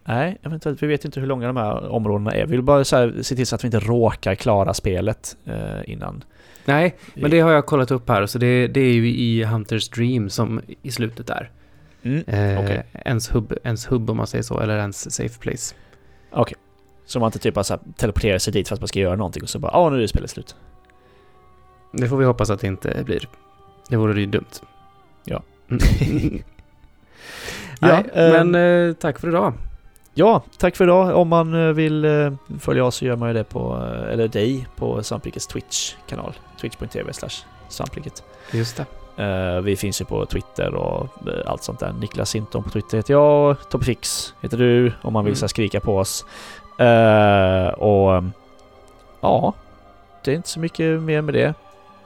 Speaker 1: Nej, eventuellt. Vi vet ju inte hur långa de här områdena är. Vi vill bara så här, se till så att vi inte råkar klara spelet eh, innan.
Speaker 2: Nej, men det har jag kollat upp här, så det, det är ju i Hunters Dream som i slutet där.
Speaker 1: Mm.
Speaker 2: Eh,
Speaker 1: Okej.
Speaker 2: ens, hub, ens hub om man säger så, eller ens safe place.
Speaker 1: Så man inte typ bara så här teleporterar sig dit för att man ska göra någonting och så bara ah nu är spelet slut.
Speaker 2: Det får vi hoppas att det inte blir. Det vore ju dumt.
Speaker 1: Ja.
Speaker 2: Mm.
Speaker 1: Ja,
Speaker 2: Nej,
Speaker 1: eh,
Speaker 2: men eh, tack för idag.
Speaker 1: Ja, tack för idag. Om man eh, vill eh, följa oss så gör man ju det på, eh, eller dig, på Svamprikets Twitch-kanal. Twitch.tv slash Svampriket.
Speaker 2: Just det.
Speaker 1: Eh, vi finns ju på Twitter och eh, allt sånt där. Niklas Sinton på Twitter heter jag och Topfix heter du om man vill
Speaker 2: Mm.
Speaker 1: så här, skrika på oss. Eh, och eh, ja, det är inte så mycket mer med det.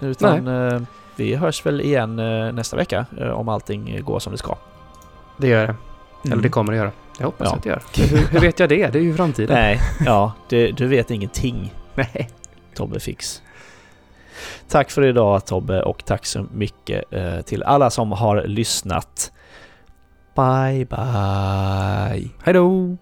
Speaker 1: Utan eh, vi hörs väl igen eh, nästa vecka eh, om allting går som det ska.
Speaker 2: Det gör det. Eller det
Speaker 1: Mm.
Speaker 2: kommer det göra. Jag hoppas
Speaker 1: Ja.
Speaker 2: att det gör. Hur, hur vet jag det? Det är ju framtiden.
Speaker 1: Nej, ja, det, du vet ingenting.
Speaker 2: Nej.
Speaker 1: Tobbe Fix. Tack för idag Tobbe och tack så mycket eh, till alla som har lyssnat. Bye bye.
Speaker 2: Hej då!